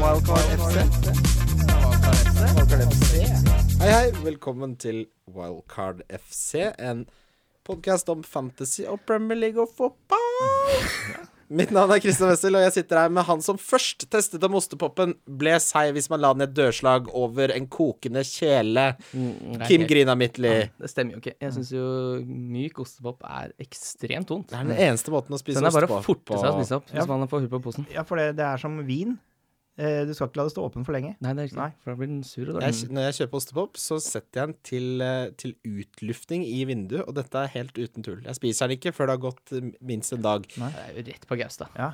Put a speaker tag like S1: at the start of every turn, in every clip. S1: Wildcard FC. Hei, hei. Velkommen til Wildcard FC, en podkast om fantasy og Premier League og fotball. Mitt navn er Kristian Wessel, og jeg sitter her med han som først testet om ostepopen ble seig hvis man la den i et dørslag over en kokende kjele.
S2: Mm,
S1: Kim Grina Midtly.
S2: Det stemmer jo ikke. Jeg syns jo myk ostepop er ekstremt vondt.
S1: Det er den eneste måten å spise
S2: Den er
S1: ost
S2: bare
S1: på.
S2: å forte seg liksom. å spise opp
S3: Ja.
S2: hvis man får hull på posen.
S3: Ja, for det, det er som vin. Eh, Du skal ikke la det stå åpen for lenge.
S2: Nei, det er
S3: Nei.
S2: riktig, for da blir den sur og
S1: Jeg,
S2: dårlig.
S1: når jeg kjøper ostepop, så setter jeg den til, eh, til utluftning i vinduet, og dette er helt uten tull. Jeg spiser den ikke før det har gått eh, minst en dag.
S2: Det er jo rett på Gaustad.
S3: Ja.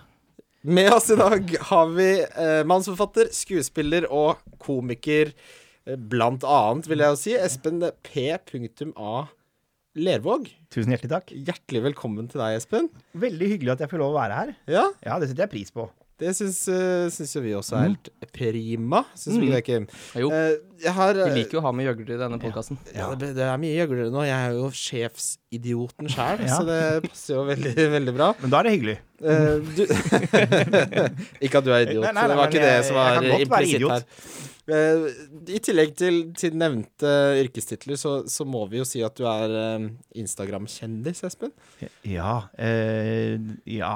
S1: Med oss i dag har vi eh, mannsforfatter, skuespiller og komiker, eh, blant annet, vil jeg jo si, Espen P.A. Lervåg.
S3: Tusen hjertelig takk.
S1: Hjertelig velkommen til deg, Espen.
S3: Veldig hyggelig at jeg får lov å være her.
S1: Ja,
S3: Ja, det setter jeg pris på.
S1: det syns, eh, syns jo vi også er helt prima. Syns vi
S2: Mm.
S1: det, Kim?
S2: Ja, Jo,
S1: Eh, jeg har
S2: vi
S1: eh,
S2: liker jo å ha med gjøgler i denne podkasten.
S1: Ja, det, det er mye gjøglere nå. Jeg er jo sjefsidioten sjæl,
S3: Ja.
S1: så det passer jo veldig, veldig bra.
S3: Men da er det hyggelig.
S1: Eh, du Ikke at du er idiot,
S3: Nei, nei,
S1: så det var
S3: nei,
S1: ikke
S3: men
S1: det
S3: jeg-
S1: som
S3: jeg
S1: var
S3: kan godt være
S1: implisitt
S3: idiot.
S1: her. Eh, I tillegg til, til nevnte yrkestitler, så, så må vi jo si at du er eh, Instagram-kjendis, Espen.
S3: Ja, eh, ja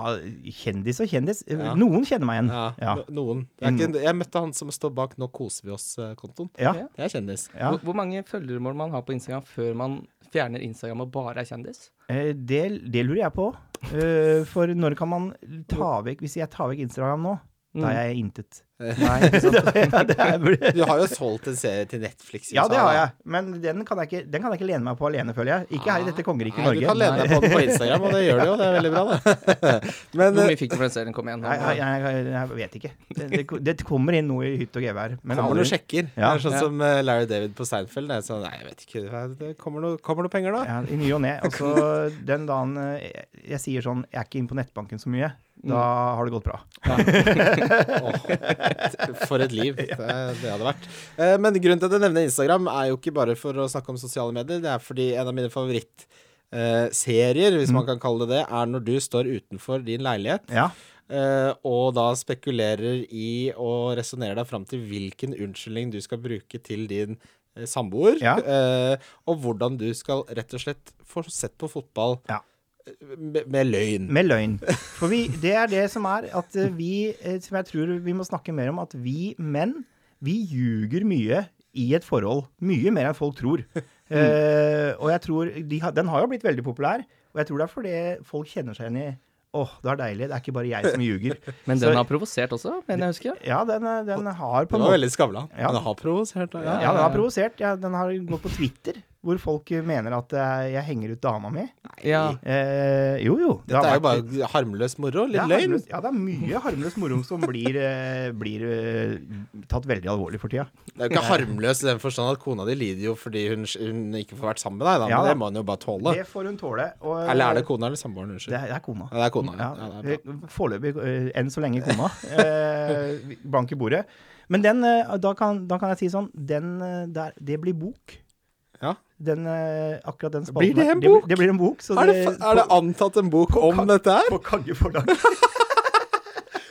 S3: Kjendis og kjendis. Eh,
S1: Ja.
S3: Noen kjenner meg igjen.
S1: Ja,
S3: Ja.
S1: no- Noen. Det er ikke, jeg møtte han som står bak 'Nå koser vi oss'-kontoen.
S3: Ja.
S2: Ja.
S1: Det er kjendis.
S3: Ja.
S2: Hvor, hvor mange følgere må man ha på Instagram før man fjerner Instagram og bare er kjendis?
S3: Eh, Det, det lurer jeg på. Eh, For når kan man ta vekk Hvis jeg tar vekk Instagram nå, da er jeg intet.
S2: Nei, ikke sant?
S3: Ja, det er,
S1: Du har jo solgt en serie til Netflix. i
S3: ja,
S1: USA,
S3: det har
S1: da.
S3: jeg. Men den kan jeg ikke, den kan jeg ikke lene meg på alene, føler jeg. Ikke her i dette kongeriket
S1: Nei,
S3: Norge.
S1: du kan lene deg på den på Instagram, og det gjør du jo. Det er veldig bra, det. Men
S2: Hvor
S1: eh,
S2: mye fikk du for den serien? Kom igjen.
S3: Nei, nei, nei, jeg, jeg vet ikke. Det, det, det kommer inn noe i hytt og gevær. Men
S1: kommer noen
S3: aldri-
S1: sjekker.
S3: Ja.
S1: Det er sånn
S2: Ja.
S1: som eh, Larry David på Seinfeld. Det er sånn, nei, jeg vet ikke, hva- det kommer noe, kommer noe penger da?
S3: Ja, I ny og ne. Og så den dagen eh, jeg, jeg sier sånn Jeg er ikke inne på nettbanken så mye. Da har det gått bra.
S1: Åh, for et liv det, det hadde vært. Eh, Men grunnen til at jeg nevner Instagram, er jo ikke bare for å snakke om sosiale medier. Det er fordi en av mine favorittserier,
S3: Mm.
S1: hvis man kan kalle det det, er når du står utenfor din leilighet.
S3: Ja.
S1: eh, og da spekulerer i å resonnere deg fram til hvilken unnskyldning du skal bruke til din eh, samboer.
S3: Ja.
S1: eh, og hvordan du skal rett og slett få sett på fotball
S3: Ja. Mm,
S1: eh, med, med løgn.
S3: Med løgn. For vi, det er det som er at eh, vi eh, Som jeg tror vi må snakke mer om, at vi menn, vi ljuger mye i et forhold. Mye mer enn folk tror. Eh, og jeg tror de, har- Den har jo blitt veldig populær, og jeg tror det er fordi folk kjenner seg igjen i Åh, det er deilig. Det er ikke bare jeg som ljuger.
S2: Men
S3: Så-
S2: den har provosert også, mener jeg husker.
S3: Ja, den, eh, den har på en
S1: Det var
S3: måte
S1: veldig Skavlan.
S3: Ja.
S1: Men det har provosert. da,
S3: Ja, den har provosert. Ja, den har gått på Twitter, hvor folk eh, mener at eh, jeg henger ut dama mi.
S2: Ja.
S3: Eh, jo, jo.
S1: Dette er
S3: har
S1: jo
S3: vært-
S1: bare harmløs moro.
S3: det
S1: Litt
S3: er
S1: løgn.
S3: harmløs- Ja, det er mye harmløs moro som blir, eh, blir eh, tatt veldig alvorlig for tida.
S1: Det er jo ikke harmløs i den forstand at kona di lider jo fordi hun, hun ikke får vært sammen med deg, da. Men
S3: Ja, da.
S1: det må hun jo bare tåle.
S3: Det får hun tåle. Og,
S1: Eller er det kona eller samboeren?
S3: Det
S1: Unnskyld.
S3: er, det er kona.
S1: Ja, det er kona. Ja.
S3: Ja,
S1: Ja, det er bra.
S3: Foreløpig, eh, enn så lenge, kona. Eh, blank i bordet. Men den, eh, da, kan, da kan jeg si sånn den, eh, der, Det blir bok.
S1: Ja.
S3: Den, eh, akkurat den
S1: Blir det
S3: der,
S1: en
S3: blir-
S1: bok?
S3: Det blir en bok. Så
S1: Er, det, fa- er det antatt en bok om dette her?
S3: på Kagge forlag.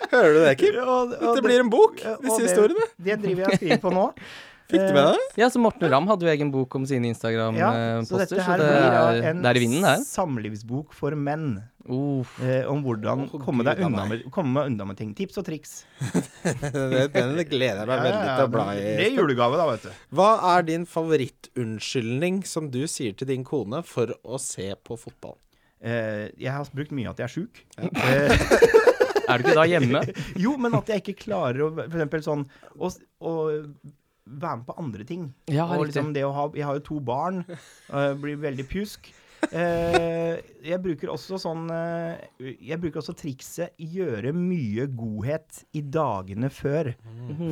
S1: Hører du det, Kim?
S3: Og- og
S1: Dette blir en bok,
S3: og
S1: disse
S3: det-
S1: historiene.
S3: Det driver jeg og skriver på nå.
S1: Fikk du med deg eh, det?
S2: ja, så Morten Ramm hadde jo egen bok om
S3: Eh,
S2: sine
S3: Ja, så
S2: Instagram-poster,
S3: dette
S2: så,
S3: her
S2: det,
S3: blir da
S2: er,
S3: en
S2: det er i vinden, det her.
S3: samlivsbok for menn.
S2: Uff.
S3: Eh, om hvordan
S1: Å,
S3: komme, deg
S1: Gud,
S3: unna
S1: nei.
S3: med, komme unna med ting. Tips og triks.
S1: Det- Den gleder jeg meg veldig til å bla
S3: Det
S1: i.
S3: er julegave, da, vet du.
S1: Hva er din favorittunnskyldning som du sier til din kone for å se på fotball?
S3: Eh, jeg har brukt mye at jeg er sjuk. Eh,
S2: Er du ikke da hjemme?
S3: Jo, men at jeg ikke klarer å f.eks. sånn å, å være med på andre ting.
S2: Ja,
S3: og
S2: riktig.
S3: liksom det å ha Jeg har jo to barn, uh, blir veldig pjusk. Eh, jeg bruker også sånn eh, Jeg bruker også trikset gjøre mye godhet i dagene før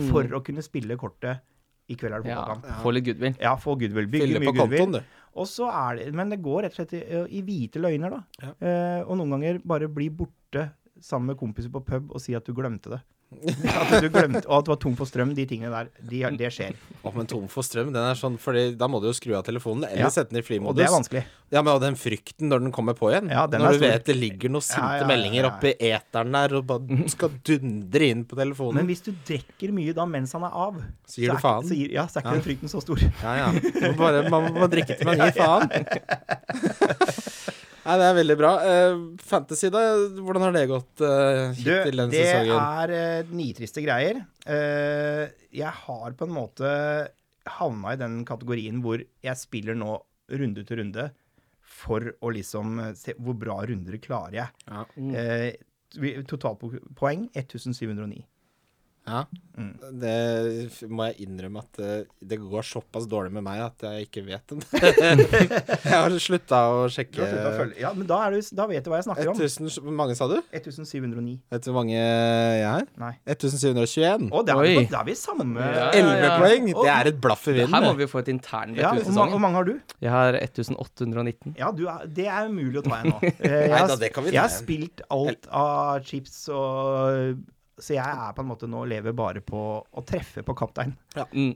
S3: for å kunne spille kortet i kveld er det
S2: Mm. Ja,
S3: fotballkamp.
S2: Få litt goodwill.
S3: Ja, få goodwill. Bygge
S1: Fylle
S3: mye
S1: på kontoen,
S3: goodwill.
S1: du.
S3: Og så er det, men det går rett og slett i, i hvite løgner, da. Eh, og noen ganger bare bli borte sammen med kompiser på pub og si at du glemte det. At du glemte, og at du var tom for strøm, de tingene der. De, det skjer.
S1: Å, men tom for strøm, den er sånn Fordi da må du jo skru av telefonen, eller
S3: Ja.
S1: sette den i flymodus.
S3: Og det er vanskelig.
S1: Ja, men og den frykten når den kommer på igjen.
S3: Ja, den er
S1: når du
S3: stor.
S1: vet det ligger noen sinte
S3: Ja, ja, ja,
S1: meldinger
S3: ja, ja.
S1: oppi eteren der og bare skal dundre inn på telefonen.
S3: Men hvis du drikker mye da mens han er av,
S1: Så gir
S3: så
S1: du
S3: er,
S1: faen.
S3: ikke- så gir, ja, så er ikke
S1: Ja.
S3: den frykten så stor.
S1: Ja, ja. Man må, bare, man må drikke til man gir faen. Nei, det er veldig bra. Eh, fantasy, da? Hvordan har det gått eh,
S3: Du,
S1: hittil den
S3: det
S1: sesongen?
S3: er eh, nitriste greier. Eh, jeg har på en måte havna i den kategorien hvor jeg spiller nå runde til runde for å liksom se hvor bra runder klarer jeg.
S1: Ja.
S3: Eh, vi- Totalpoeng 1709.
S1: Ja. Mm. Det må jeg innrømme at eh, det går såpass dårlig med meg at jeg ikke vet om det. jeg har slutta å
S3: Du har sluttet å
S1: sjekke.
S3: følge- Ja, men da, er du, da vet du hva jeg snakker om.
S1: 1000, hvor mange sa du?
S3: 1709.
S1: Vet du hvor mange jeg er?
S3: Nei.
S1: 1721.
S3: Å, der er
S2: Oi.
S3: vi, på- der er vi samme.
S2: Ja, ja.
S1: 11 poeng! Det er sånn. et blaff i
S2: Her må
S1: vinden. det.
S2: vi jo få et internbrett
S3: Ja, hvor,
S2: ut i
S3: mange, hvor
S2: sesongen.
S3: mange har du?
S2: Jeg har 1819.
S3: Ja, du er, Det er umulig å ta igjen nå. Eh, Jeg, har
S1: Nei da,
S3: sp-
S1: det kan vi ta
S3: jeg har
S1: igjen.
S3: spilt alt av chips og Så jeg er på en måte nå lever bare på å treffe på kaptein.
S2: Mm.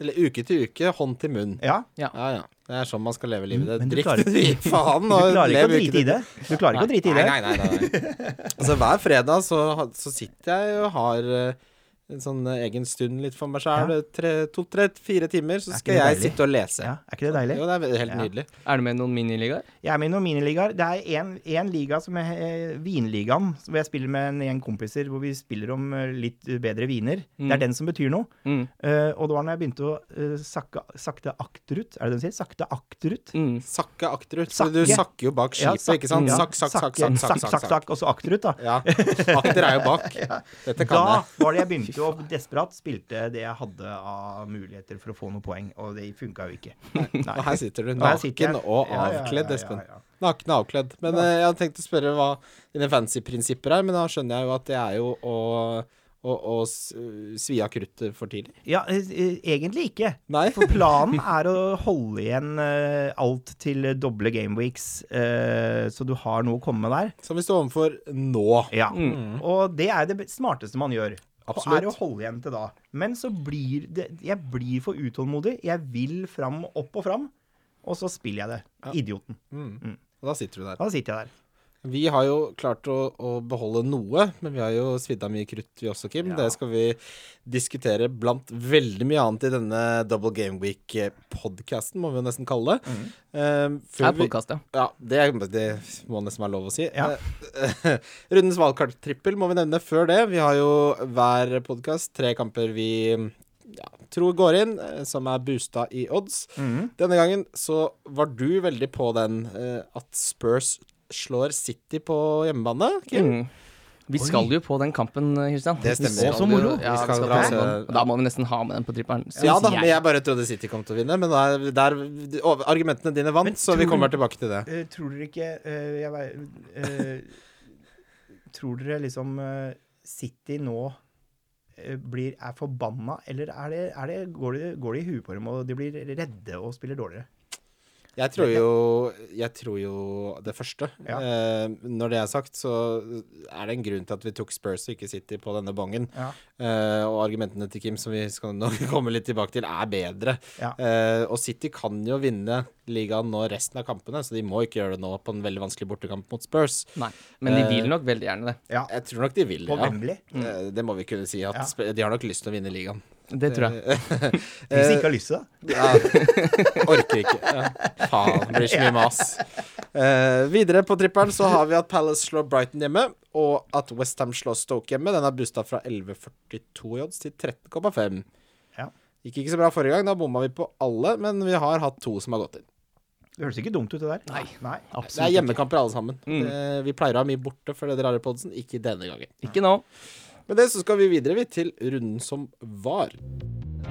S1: Eller uke til uke, hånd til munn.
S3: Ja.
S1: Ja, ja. Det er sånn man skal leve livet.
S3: Men du
S1: Drikk
S3: klarer-
S1: til du gir faen
S3: Du
S1: og
S3: klarer ikke å
S1: lev
S3: drite i det. Du klarer ikke å drite i det.
S1: Nei, nei, nei. nei, nei. altså, hver fredag så, ha- så sitter jeg og har eh, en sånn eh, egen stund litt for meg sjæl. To-tre-fire timer, så
S3: Er ikke
S1: skal
S3: det
S1: jeg
S3: deilig?
S1: sitte og lese.
S3: Ja, er ikke det deilig?
S1: Jo, det er ve- helt
S3: Ja.
S1: nydelig.
S2: Er du med i noen miniligaer?
S3: Jeg er med i noen miniligaer. Det er én liga som er eh, Vinligaen, hvor jeg spiller med en gjeng kompiser hvor vi spiller om eh, litt bedre viner. Det
S2: Mm.
S3: er den som betyr noe.
S2: Mm.
S3: Eh, og det var når jeg begynte å eh, sakke, sakte akterut Er det det de sier? Sakte akterut?
S2: Mm.
S1: Sakke akterut. for Du
S3: Sakke.
S1: sakker jo bak
S3: Ja,
S1: skipet, ikke sant?
S2: ja.
S1: Sakk, sakk, sakk,
S3: Sakke,
S1: sakk, sakk, sakk, sakk.
S3: og så akterut, da.
S1: Ja. Akter er jo bak. Dette
S3: Da
S1: kan jeg.
S3: var det jeg begynte å desperat spilte det jeg hadde av muligheter for å få noen poeng, og det funka jo ikke.
S1: Og her sitter du
S3: Og her sitter jeg.
S1: naken og
S3: Ja, ja, ja,
S1: avkledd,
S3: ja, ja,
S1: Espen.
S3: ja.
S1: Naken og avkledd. Men eh, jeg hadde tenkt å spørre hva dine fancy prinsipper er, men da skjønner jeg jo at det er jo å, å, å s- eh, svi av kruttet for tidlig.
S3: Ja, eh, eh, egentlig ikke.
S1: Nei.
S3: For planen er å holde igjen eh, alt til doble gameweeks, eh, så du har noe å komme med der.
S1: Som vi står overfor nå.
S3: Ja. Mm. Og det er det be- smarteste man gjør.
S1: Absolutt.
S3: Er å holde igjen til da. Men så blir det Jeg blir for utålmodig. Jeg vil fram, opp og fram. Og så spiller jeg det. Idioten.
S1: Og da sitter du der.
S3: Da sitter jeg der.
S1: Vi har jo klart å, å beholde noe, men vi har jo svidd av mye krutt, vi også, Kim. Det skal vi diskutere blant veldig mye annet i denne Double Game Week-podkasten, må vi jo nesten kalle det. Eh, før
S2: Er
S1: vi-
S2: podkast, ja.
S1: Ja, det, det må nesten være lov å si.
S3: Ja.
S1: Eh, Rundens valgkarttrippel må vi nevne før det. Vi har jo hver podkast tre kamper vi ja, tror går inn, eh, som er boosta i odds.
S3: Mhm.
S1: Denne gangen så var du veldig på den eh, at Spurs slår City på hjemmebane, Kim.
S2: Mm. Vi skal jo på den kampen, Kristian.
S1: Det stemmer.
S2: Vi skal
S1: Å, så
S2: jo-
S1: moro. Vi
S2: Ja, vi
S1: skal dra
S2: skal på
S1: og se-
S2: den. Og Da må vi nesten ha med den på trippelen. synes
S1: Ja da,
S2: jeg.
S1: men jeg bare trodde City kom til å vinne, men der, der, over- argumentene dine vant,
S3: Men
S1: så vi
S3: tror-
S1: kommer tilbake til det.
S3: Eh, tror dere ikke eh, jeg, vei- eh, Tror dere liksom eh, City nå eh, blir, er forbanna, eller er det, er det, går, det, går det i huet på dem, og de blir redde og spiller dårligere?
S1: Jeg tror jo, jeg tror jo det første.
S3: Ja.
S1: Eh, når det er sagt, så er det en grunn til at vi tok Spurs og ikke City på denne bongen.
S3: Ja.
S1: Eh, og argumentene til Kim, som vi skal nå komme litt tilbake til, er bedre.
S3: Ja.
S1: Eh, og City kan jo vinne ligaen nå resten av kampene, så de må ikke gjøre det nå på en veldig vanskelig bortekamp mot Spurs.
S2: Nei, men
S1: Eh,
S2: de vil nok veldig gjerne det.
S3: ja.
S1: Jeg tror nok de vil det,
S3: På Wembley.
S1: Eh, Det må vi kunne si. At
S3: Ja.
S1: Sp- De har nok lyst til å vinne ligaen.
S2: Det tror jeg.
S3: Hvis de ikke har lyst til det.
S1: Ja, orker ikke. Ja. Faen, det blir så mye mas. Eh, videre på trippelen så har vi at Palace slår Brighton hjemme, og at Westham slår Stoke hjemme. Den er boosta fra 11,42 i odds til 13,5.
S3: Ja.
S1: Gikk ikke så bra forrige gang, da bomma vi på alle, men vi har hatt to som har gått inn.
S3: Det høres ikke dumt ut, det der.
S2: Nei.
S3: Nei.
S1: Det er
S2: Absolutt.
S1: hjemmekamper alle sammen.
S2: Mm.
S1: Det- vi pleier å ha mye borte for det dere har i podsen, ikke denne gangen.
S2: ikke. Ikke nå.
S1: Med det så skal vi videre vi, til runden som var.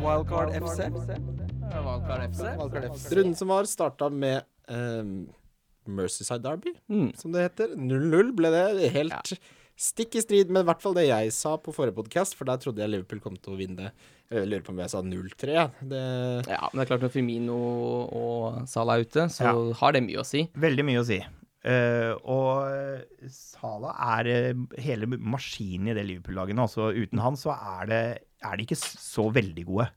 S2: Wildcard FC. Wildcard FC.
S1: Runden som var, starta med ehm, Merseyside Derby.
S2: Mm.
S1: som det heter. 0-0 ble det helt stikk i strid med i hvert fall det jeg sa på forrige podkast, for der trodde jeg Liverpool kom til å vinne. Jeg lurer på om jeg sa 0-3. ja. Det-
S2: Ja, men det er klart når Firmino og Salah er ute, så har det mye å si.
S3: Veldig mye å si. Eh, Eh, og Sala er eh, hele maskinen i det Liverpool-laget nå. Så uten han så er, det, er de ikke så veldig gode.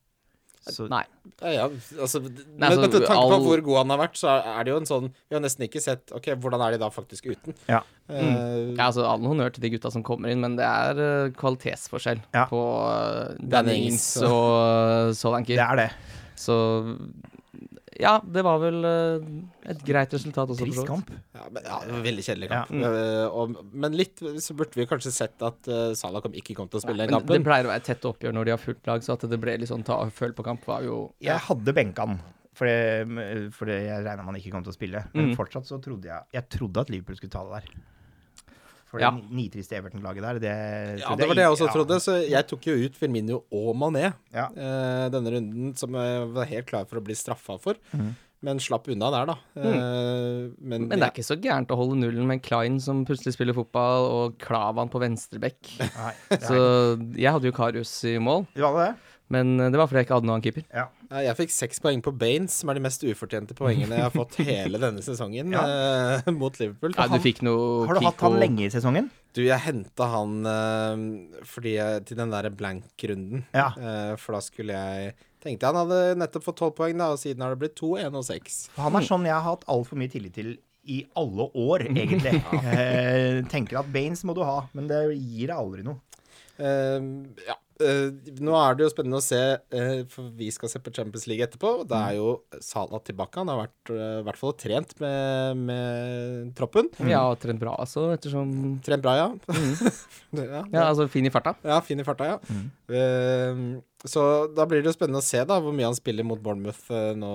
S3: Så,
S2: Nei.
S1: Ja, ja, altså, men,
S2: altså,
S1: men til tanke på
S2: all-
S1: hvor god han har vært, så er det jo en sånn Vi har nesten ikke sett OK, hvordan er de da faktisk uten?
S3: Ja.
S1: Eh,
S2: Ja, altså, All honnør til de gutta som kommer inn, men det er eh, kvalitetsforskjell
S3: Ja.
S2: på eh,
S1: Dennings
S2: Dennings
S1: og-
S2: og eh, Solanker.
S3: Det er det.
S2: Så ja, det var vel eh, et greit resultat også. for så
S3: Trist
S2: vidt.
S3: kamp.
S1: ja, men, ja, det var veldig kjedelig
S3: Ja.
S2: mm.
S1: kamp. Eh, og, men litt så burde vi kanskje sett at eh, Salah kom, ikke kom til å spille den
S2: Men det
S1: kampen.
S2: pleier å være tett oppgjør når de har fullt lag, så at det ble litt sånn ta og føl på kamp, var jo
S3: Jeg hadde benka han, for det, for det jeg regna man ikke kom til å spille. Men
S2: Mm.
S3: fortsatt så trodde jeg Jeg trodde at Liverpool skulle ta det der. For
S2: Ja.
S3: det ni- nitriste Everton-laget der, det
S1: Ja, det var det jeg også trodde, så jeg tok jo ut Firmino og Mané
S3: Ja.
S1: eh, denne runden, som jeg var helt klar for å bli straffa for,
S3: Mhm.
S1: men slapp unna der, da. Eh, men,
S2: Men det er ikke så gærent å holde nullen med Klein som plutselig spiller fotball, og Klavan på venstrebekk.
S3: Nei, det
S2: Så
S3: er-
S2: jeg hadde jo Karius i mål,
S3: Du hadde det?
S2: men eh, det var fordi jeg ikke hadde noen annen keeper.
S3: Ja.
S1: Ja, eh, jeg fikk seks poeng på Baines, som er de mest ufortjente poengene jeg har fått hele denne sesongen eh, mot Liverpool.
S2: Nei, du fikk noe
S3: Har du hatt han lenge i sesongen?
S1: Du, jeg henta han eh, fordi jeg, til den derre blank-runden.
S3: Ja.
S1: Eh, for da skulle jeg Tenkte jeg han hadde nettopp fått tolv poeng, da, og siden har det blitt to, én og seks.
S3: For han er
S2: Mm.
S3: sånn jeg har hatt altfor mye tillit til i alle år, egentlig. eh, tenker at Baines må du ha, men det gir deg aldri noe.
S1: Eh, ja. Eh, nå er det jo spennende å se, eh, for vi skal se på Champions League etterpå. og Da er jo Salah tilbake. Han har vært, eh, i hvert fall trent med, med troppen.
S2: Ja, og trent bra, altså, ettersom
S1: Trent bra, ja. ja,
S2: Mm. Ja, Mm. altså fin i farta.
S1: Ja, fin i farta, ja. Eh, så da blir det jo spennende å se da hvor mye han spiller mot Bournemouth eh, nå.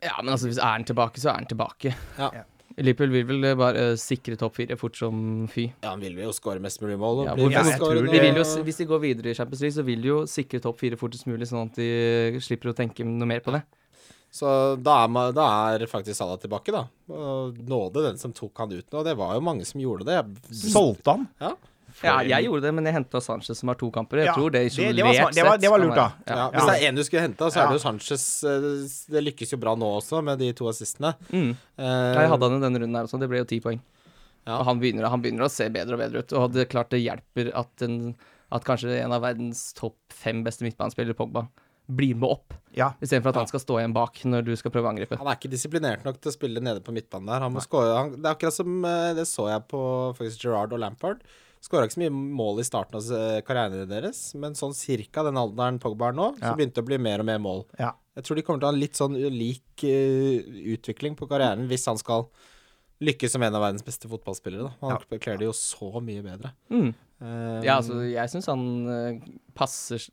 S2: Ja, men altså, hvis er han tilbake, så er han tilbake.
S1: Ja.
S3: Ja.
S2: Liverpool vil vel eh, bare eh, sikre topp fire fort som fy.
S1: Ja, han vil jo skåre mest mulig mål. og
S2: Ja,
S1: blir
S2: hvorfor-
S1: vel
S3: jeg
S1: scorer
S3: tror
S1: nå.
S2: De vil jo, s- hvis de går videre i Champions League, så vil de jo sikre topp fire fortest mulig, sånn at de slipper å tenke noe mer på det.
S1: Så da er, ma- da er faktisk Salah tilbake, da. Og nåde den som tok han ut nå. Det var jo mange som gjorde det. Jeg-
S3: Solgte han?
S1: Ja.
S2: Ja, jeg gjorde det, men jeg henta Sanchez, som har to kamper. Jeg
S3: Ja,
S2: tror det
S3: det- det
S2: isolert
S3: var smart. Det var-
S2: sett
S3: det var
S2: kan
S3: lurt,
S2: være-
S1: Ja,
S2: Ja.
S1: hvis det er én du skulle henta, så er det jo Sanchez. eh, Det lykkes jo bra nå også, med de to assistene.
S2: Mm.
S1: Eh,
S2: Jeg hadde han i denne runden her også, det ble jo ti poeng.
S1: Ja.
S2: Og han begynner, han begynner å se bedre og bedre ut. Og det er klart det hjelper at, en, at kanskje en av verdens topp fem beste midtbanespillere, Pogba, blir med opp,
S3: Ja.
S2: istedenfor at
S1: Ja.
S2: han skal stå igjen bak når du skal prøve å angripe.
S1: Han er ikke disiplinert nok til å spille nede på midtbanen der. Han må score, han, det er akkurat som eh, det så jeg på faktisk Gerrard og Lampard. Skåra ikke så mye mål i starten av eh, karrieren deres, men sånn cirka den alderen Pogba er nå, så
S3: Ja.
S1: begynte det å bli mer og mer mål.
S3: ja.
S1: Jeg tror de kommer til å ha en litt sånn ulik eh, utvikling på karrieren hvis han skal lykkes som en av verdens beste fotballspillere. Da. Han kler det jo så mye bedre.
S2: Mm.
S1: Eh,
S2: Ja, altså, jeg syns han eh, passer s-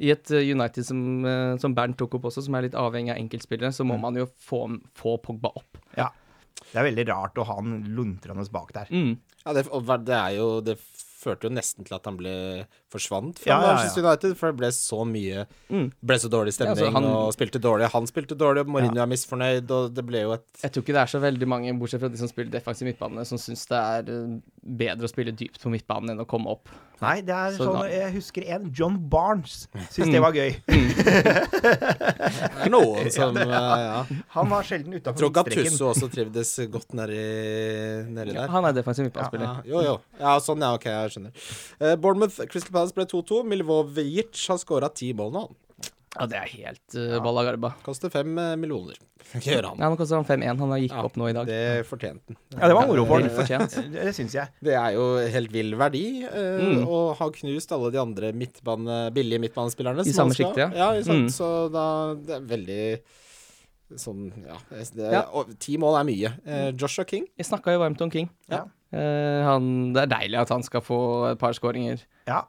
S2: I et eh, United som, eh, som Bernt tok opp også, som er litt avhengig av enkeltspillere, så
S1: Mm.
S2: må man jo få, få Pogba opp.
S3: ja. Det er veldig rart å ha han luntrende bak der.
S2: Mm.
S1: Ja, det, og hva- det er jo Det førte jo nesten til at han ble forsvant fra
S3: Ja, ja, ja.
S1: Manchester United, for det ble så mye Ble så dårlig stemning,
S2: Ja, altså, han-
S1: og spilte dårlig. Han spilte dårlig, og Mourinho er misfornøyd, og det ble jo et
S2: Jeg tror ikke det er så veldig mange, bortsett fra de som spiller defensiv midtbane, som syns det er eh, bedre å spille dypt på midtbanen enn å komme opp.
S3: Nei, det er
S2: Så
S3: sånn
S2: da- Mm.
S3: Jeg husker en. John Barnes. Syns det var gøy.
S1: Det er noen som ja, ja.
S3: Han var sjelden
S1: Jeg
S3: utafor
S1: tror
S3: midtstreken.
S1: Gattusso også trivdes godt nedi, nedi der.
S2: Han er defensiv midtbanespiller.
S1: Ja, jo, jo. Ja, sånn, ja, OK, jeg skjønner. Eh, Bournemouth Crystal Palace ble 2-2. Milvovic har skåra ti mål nå.
S2: Ja, det er helt uh, balla garba.
S1: Koster fem eh, millioner. Gjør han.
S2: Ja, nå koster han 5-1. Han har gikk
S1: Ja,
S2: opp nå i dag.
S1: Det fortjente han.
S3: Ja, det var moro for
S2: Vel
S3: han.
S2: fortjent.
S3: Det, det syns jeg.
S1: Det er jo helt vill verdi, eh,
S2: Mm.
S1: og har knust alle de andre midtbane, billige midtbanespillerne.
S2: I
S1: som han
S2: samme
S1: skal-
S2: sjiktet,
S1: ja.
S2: ja.
S1: ikke sant?
S2: Mm.
S1: Så da Det er veldig sånn Ja. jeg- Det,
S2: Ja.
S1: Og ti mål er mye. Eh, Joshua King.
S2: Jeg snakka jo varmt om King.
S3: Ja.
S2: Eh, han, det er deilig at han skal få et par skåringer.
S3: Ja.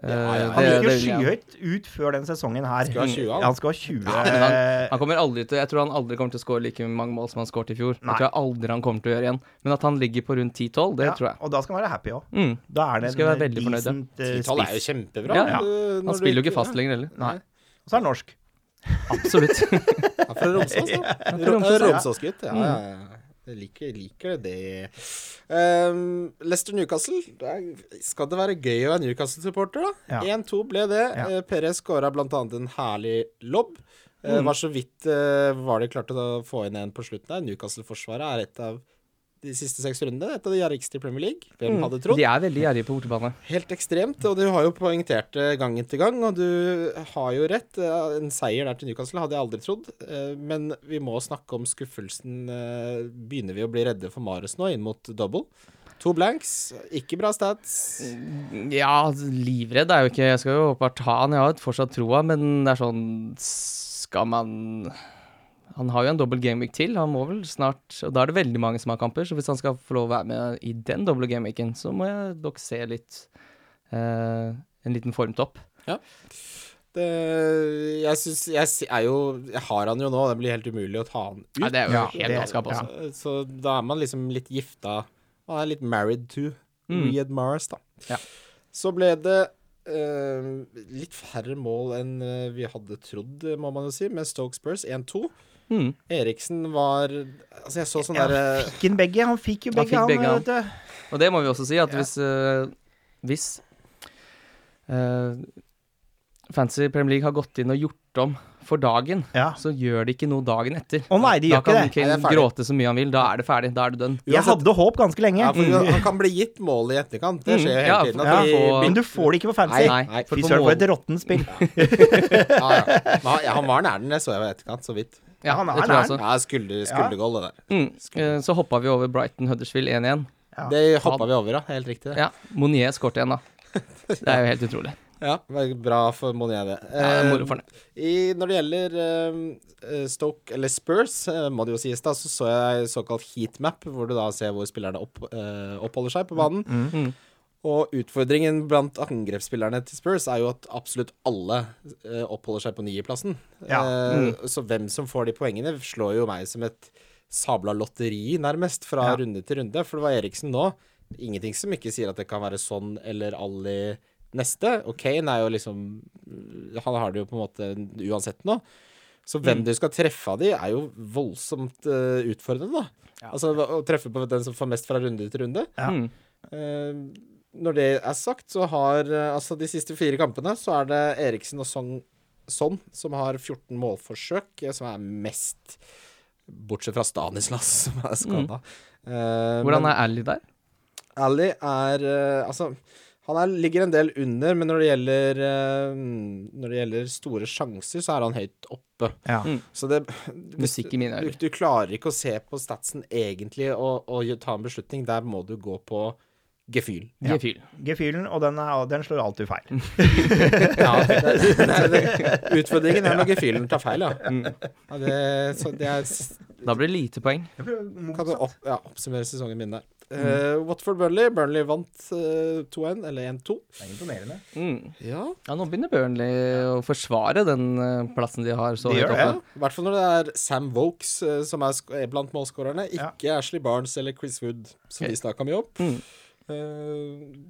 S2: Eh,
S1: Ja, ja, ja.
S3: Han
S2: det-
S3: gikk jo
S2: det vil jeg.
S3: skyhøyt ut før den sesongen her.
S1: Skal ha 20 av.
S3: Han skal ha 20.
S2: men Han kommer aldri til, jeg tror han aldri kommer til å skåre like mange mål som han skåret i fjor.
S3: Nei.
S2: Jeg tror jeg aldri han kommer til å gjøre igjen. Men at han ligger på rundt 10-12, det
S3: Ja,
S2: tror jeg.
S3: Og da skal han være happy òg.
S2: Mm.
S3: Da er det
S2: Skal jeg være
S3: en
S2: veldig fornøyd, ja.
S3: decent eh,
S1: Tall er jo
S3: spiss.
S1: kjempebra.
S2: Ja,
S1: eh,
S2: ja.
S1: når
S2: Han
S1: du
S2: spiller jo
S1: ikke-
S2: ikke fast lenger heller.
S3: Nei. Og så er han norsk.
S2: Absolutt.
S1: Ja, han er fra Romsås, Mm. da.
S2: Romsås, ja.
S1: Romsås-gutt. Ja, ja, ja. Jeg liker, liker det. Um, Leicester Newcastle. Det er- Skal det være gøy å være Newcastle-supporter, da?
S3: Ja.
S1: 1-2 ble det.
S3: Ja.
S1: Eh, Perez skåra blant annet en herlig lobb.
S2: Mm.
S1: Eh, Var så vidt eh, var de klarte å få inn en på slutten der. Newcastle-forsvaret er et av de siste seks rundene. Et av de gjerrigste i Premier League. Hvem hadde trodd?
S2: De er veldig gjerrige på bortebane.
S1: Helt ekstremt, og du har jo poengtert det gang etter gang, og du har jo rett. Eh, En seier der til Newcastle hadde jeg aldri trodd, eh, men vi må snakke om skuffelsen. eh, Begynner vi å bli redde for Mares nå, inn mot double? To blanks, ikke bra stats.
S2: Ja, livredd er jo ikke Jeg skal jo åpenbart ha han, jeg har jo fortsatt troa, men det er sånn Skal man Han har jo en dobbel gameweek til, han må vel snart Og da er det veldig mange som har kamper, så hvis han skal få lov å være med i den doble gameweeken, så må jeg nok se litt eh, En liten formtopp.
S1: Det, jeg syns jeg, s- er jo Jeg har han jo nå, det blir helt umulig å ta han ut.
S2: Nei, det er jo
S3: Ja,
S2: helt
S3: det-
S2: galskap, altså.
S1: Så, så da er man liksom litt gifta Man er litt married to
S2: Mm.
S1: Riyad Mars, da.
S2: Ja.
S1: Så ble det eh, litt færre mål enn eh, vi hadde trodd, eh, må man jo si, med Stoke Spurs 1-2.
S2: Mm.
S1: Eriksen var Altså, jeg så sånn
S3: Ja,
S1: derre
S3: Fikk han begge? Han fikk jo
S2: eh, Han
S3: begge,
S2: fikk
S3: han.
S2: begge, han.
S3: vet du.
S2: Og det må vi også si, at
S3: Ja.
S2: hvis, eh, hvis eh, Fancy Premier League har gått inn og gjort om for dagen,
S3: Ja.
S2: så gjør det ikke noe dagen etter.
S3: Å nei, de
S2: Da
S3: gjør ikke
S2: kan
S3: det.
S1: Nei,
S2: Kane
S1: det er ferdig.
S2: gråte så mye han vil. Da er det ferdig. Da er det dønn.
S3: Jeg
S1: Uansett-
S3: hadde håp ganske lenge.
S1: ja, for Han kan bli gitt mål i etterkant. Det
S2: Mm.
S1: skjer hele
S2: Ja,
S1: tiden.
S2: for-
S1: At de,
S2: ja, for-
S3: Men du får det ikke på
S1: Nei,
S3: fancy.
S2: Nei,
S1: nei,
S2: for
S3: Fy
S2: på
S3: søren, for
S2: mål-
S3: et råttent spill.
S1: ja, ja. Men han, ja, han var nær den, det så jeg i etterkant, så vidt.
S2: Ja,
S3: han er
S2: det tror jeg
S3: nær.
S2: også.
S1: Ja, skulder, skuldergål, det der.
S2: Mm. eh, Så hoppa vi over Brighton Huddersfield 1-1.
S3: Ja.
S1: Det hoppa vi over, da. Helt riktig. det.
S2: Ja, Monier skåret igjen, da. Det er jo helt utrolig.
S1: Ja, det var Bra for Monier, det. Eh,
S2: Ja, det er moro for ham.
S1: I, når det gjelder eh, Stoke, eller Spurs, eh, må det jo sies, da, så så jeg såkalt heatmap, hvor du da ser hvor spillerne opp, eh, oppholder seg på banen.
S2: Mm.
S1: Og utfordringen blant angrepsspillerne til Spurs er jo at absolutt alle eh, oppholder seg på niendeplassen.
S3: Ja. Mm.
S1: Eh, Så hvem som får de poengene, slår jo meg som et sabla lotteri, nærmest, fra
S3: Ja.
S1: runde til runde. For det var Eriksen nå. Ingenting som ikke sier at det kan være sånn eller Ali neste. Og Kane er jo liksom Han har det jo på en måte uansett nå. Så
S3: Mm.
S1: hvem du skal treffe av de, er jo voldsomt eh, utfordrende, da. Altså å treffe på den som får mest fra runde til runde.
S3: Ja.
S2: Mm.
S1: Eh, når det er sagt, så har eh, altså de siste fire kampene så er det Eriksen og Song, Son som har 14 målforsøk, eh, som er mest Bortsett fra Stanislas, som er skada.
S2: Hvordan er Ally der?
S1: Ali er eh, Altså, han er, ligger en del under, men når det gjelder eh, Når det gjelder store sjanser, så er han høyt oppe.
S3: Ja.
S2: Mm.
S1: Så det
S2: Musikk i mine
S1: du,
S2: ører.
S1: du klarer ikke å se på statsen egentlig og, og gjø- ta en beslutning. Der må du gå på gefühl.
S3: Ja.
S2: Gefühl.
S3: Gefühlen, og den, er, den slår alltid
S2: Mm.
S3: feil.
S1: Ja, det, det, det, utfordringen er når gefühlen tar feil, ja. ja det, så det er,
S2: Mm. Da blir det lite poeng.
S1: kan du opp, ja, oppsummere sesongen min der.
S2: Mm.
S1: Eh, Watford-Burnley. Burnley vant eh, 2-1, eller 1-2.
S3: Det er imponerende.
S2: Mm.
S1: Ja,
S2: Ja, nå begynner Burnley å forsvare den eh, plassen de har så
S3: Det
S2: høyt
S3: gjør
S2: oppe.
S3: det.
S1: I hvert fall når det er Sam Vokes eh, som er, sk- er blant målskårerne, ikke Ashley Barnes eller Chris Wood, som vi snakka mye om.
S2: Mm.
S1: Eh,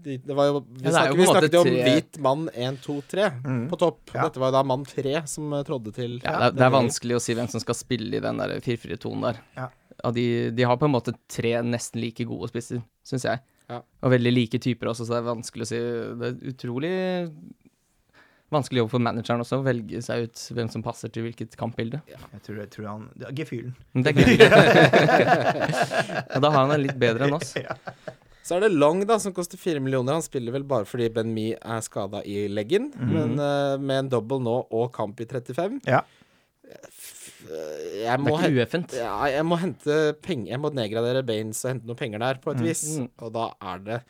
S1: de, det var jo, vi,
S2: Ja, det er
S1: snakket, vi
S2: jo på en måte
S1: snakket jo om
S2: tre- Mm.
S1: hvit mann 1, 2, 3 på topp.
S3: Ja.
S1: Dette var jo da mann 3 som eh, trådde til.
S2: Ja, det, er, det er vanskelig å si hvem som skal spille i den der 4-4-tonen der.
S3: Ja.
S2: Ja, de, de har på en måte tre nesten like gode spisser, syns jeg.
S1: Ja.
S2: Og veldig like typer også, så det er vanskelig å si. Det er utrolig vanskelig jobb for manageren også, å velge seg ut hvem som passer til hvilket kampbilde.
S3: Jeg tror, jeg tror han det er Gefühlen.
S2: Men det er gøy. Og da har han en litt bedre enn oss.
S1: Så er det Long, da, som koster 4 millioner. Han spiller vel bare fordi Ben Me er skada i leggen,
S2: Mhm.
S1: men eh, med en double nå og kamp i 35
S3: Ja.
S1: Eh, Jeg
S2: Det
S1: må
S2: er
S1: he-
S2: ikke ueffent.
S1: Ja, jeg må hente penger Jeg må nedgradere Baines og hente noen penger der,
S2: Mhm.
S1: på et vis. Og da er det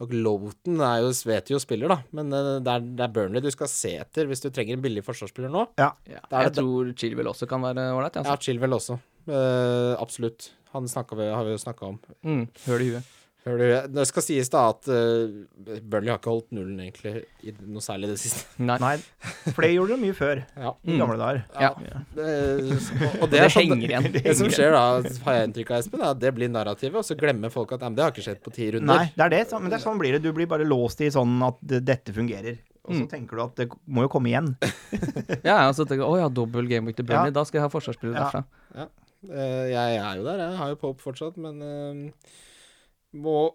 S1: nok Loughton er jo, vet jo spiller, da, men eh, det er, det er Burnley du skal se etter hvis du trenger en billig forsvarsspiller nå.
S3: Ja.
S2: Ja,
S1: Da er
S2: jeg
S1: det-
S2: tror Chilwell også kan være ålreit.
S1: Ja,
S2: Altså.
S1: Chilwell også. Eh, absolutt. Han snakket vi, har vi jo snakka om.
S2: Mm, høl i huet.
S1: Hører du, det skal sies da at eh, Burnley har ikke holdt nullen egentlig i noe særlig i det siste.
S2: Nei.
S3: Nei, for det gjorde de mye før.
S1: Ja.
S3: I
S2: Mm.
S3: gamle dager.
S2: Ja.
S1: Det- og
S2: Det,
S1: det er sånn
S2: henger igjen.
S1: Det som skjer da, har jeg inntrykk av, Espen, er at det blir narrativet, og så glemmer folk at "Nei, men det har ikke skjedd på ti runder.
S3: Nei, det er det. så- Men det er sånn blir det. Du blir bare låst i sånn at det- dette fungerer. Og
S2: Mm.
S3: så tenker du at det må jo komme igjen.
S2: Ja, og så tenker jeg å ja, dobbel gameweek til Burnley,
S3: Ja.
S2: da skal jeg ha forsvarsspillere
S3: Ja.
S2: derfra.
S1: Eh, jeg er jo der, jeg har jo Pope fortsatt, men eh, må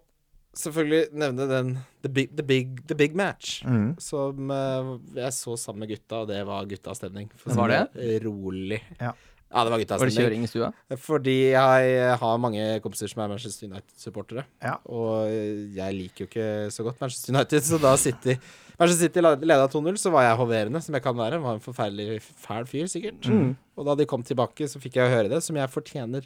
S1: selvfølgelig nevne den The Big, the big, the big Match.
S3: Mm.
S1: Som eh, jeg så sammen med gutta, og det var guttastemning. For å si
S2: Var det?
S1: Rolig.
S3: Ja.
S1: Ja, det var
S2: Var det
S1: guttastemning.
S2: kjøring i stua?
S1: Fordi jeg har mange kompiser som er Manchester United-supportere.
S3: Ja.
S1: Og jeg liker jo ikke så godt Manchester United, så da City Manchester City leda 2-0, så var jeg hoverende, som jeg kan være. Var en forferdelig fæl fyr, sikkert.
S3: Mm.
S1: Og da de kom tilbake, så fikk jeg høre det, som jeg fortjener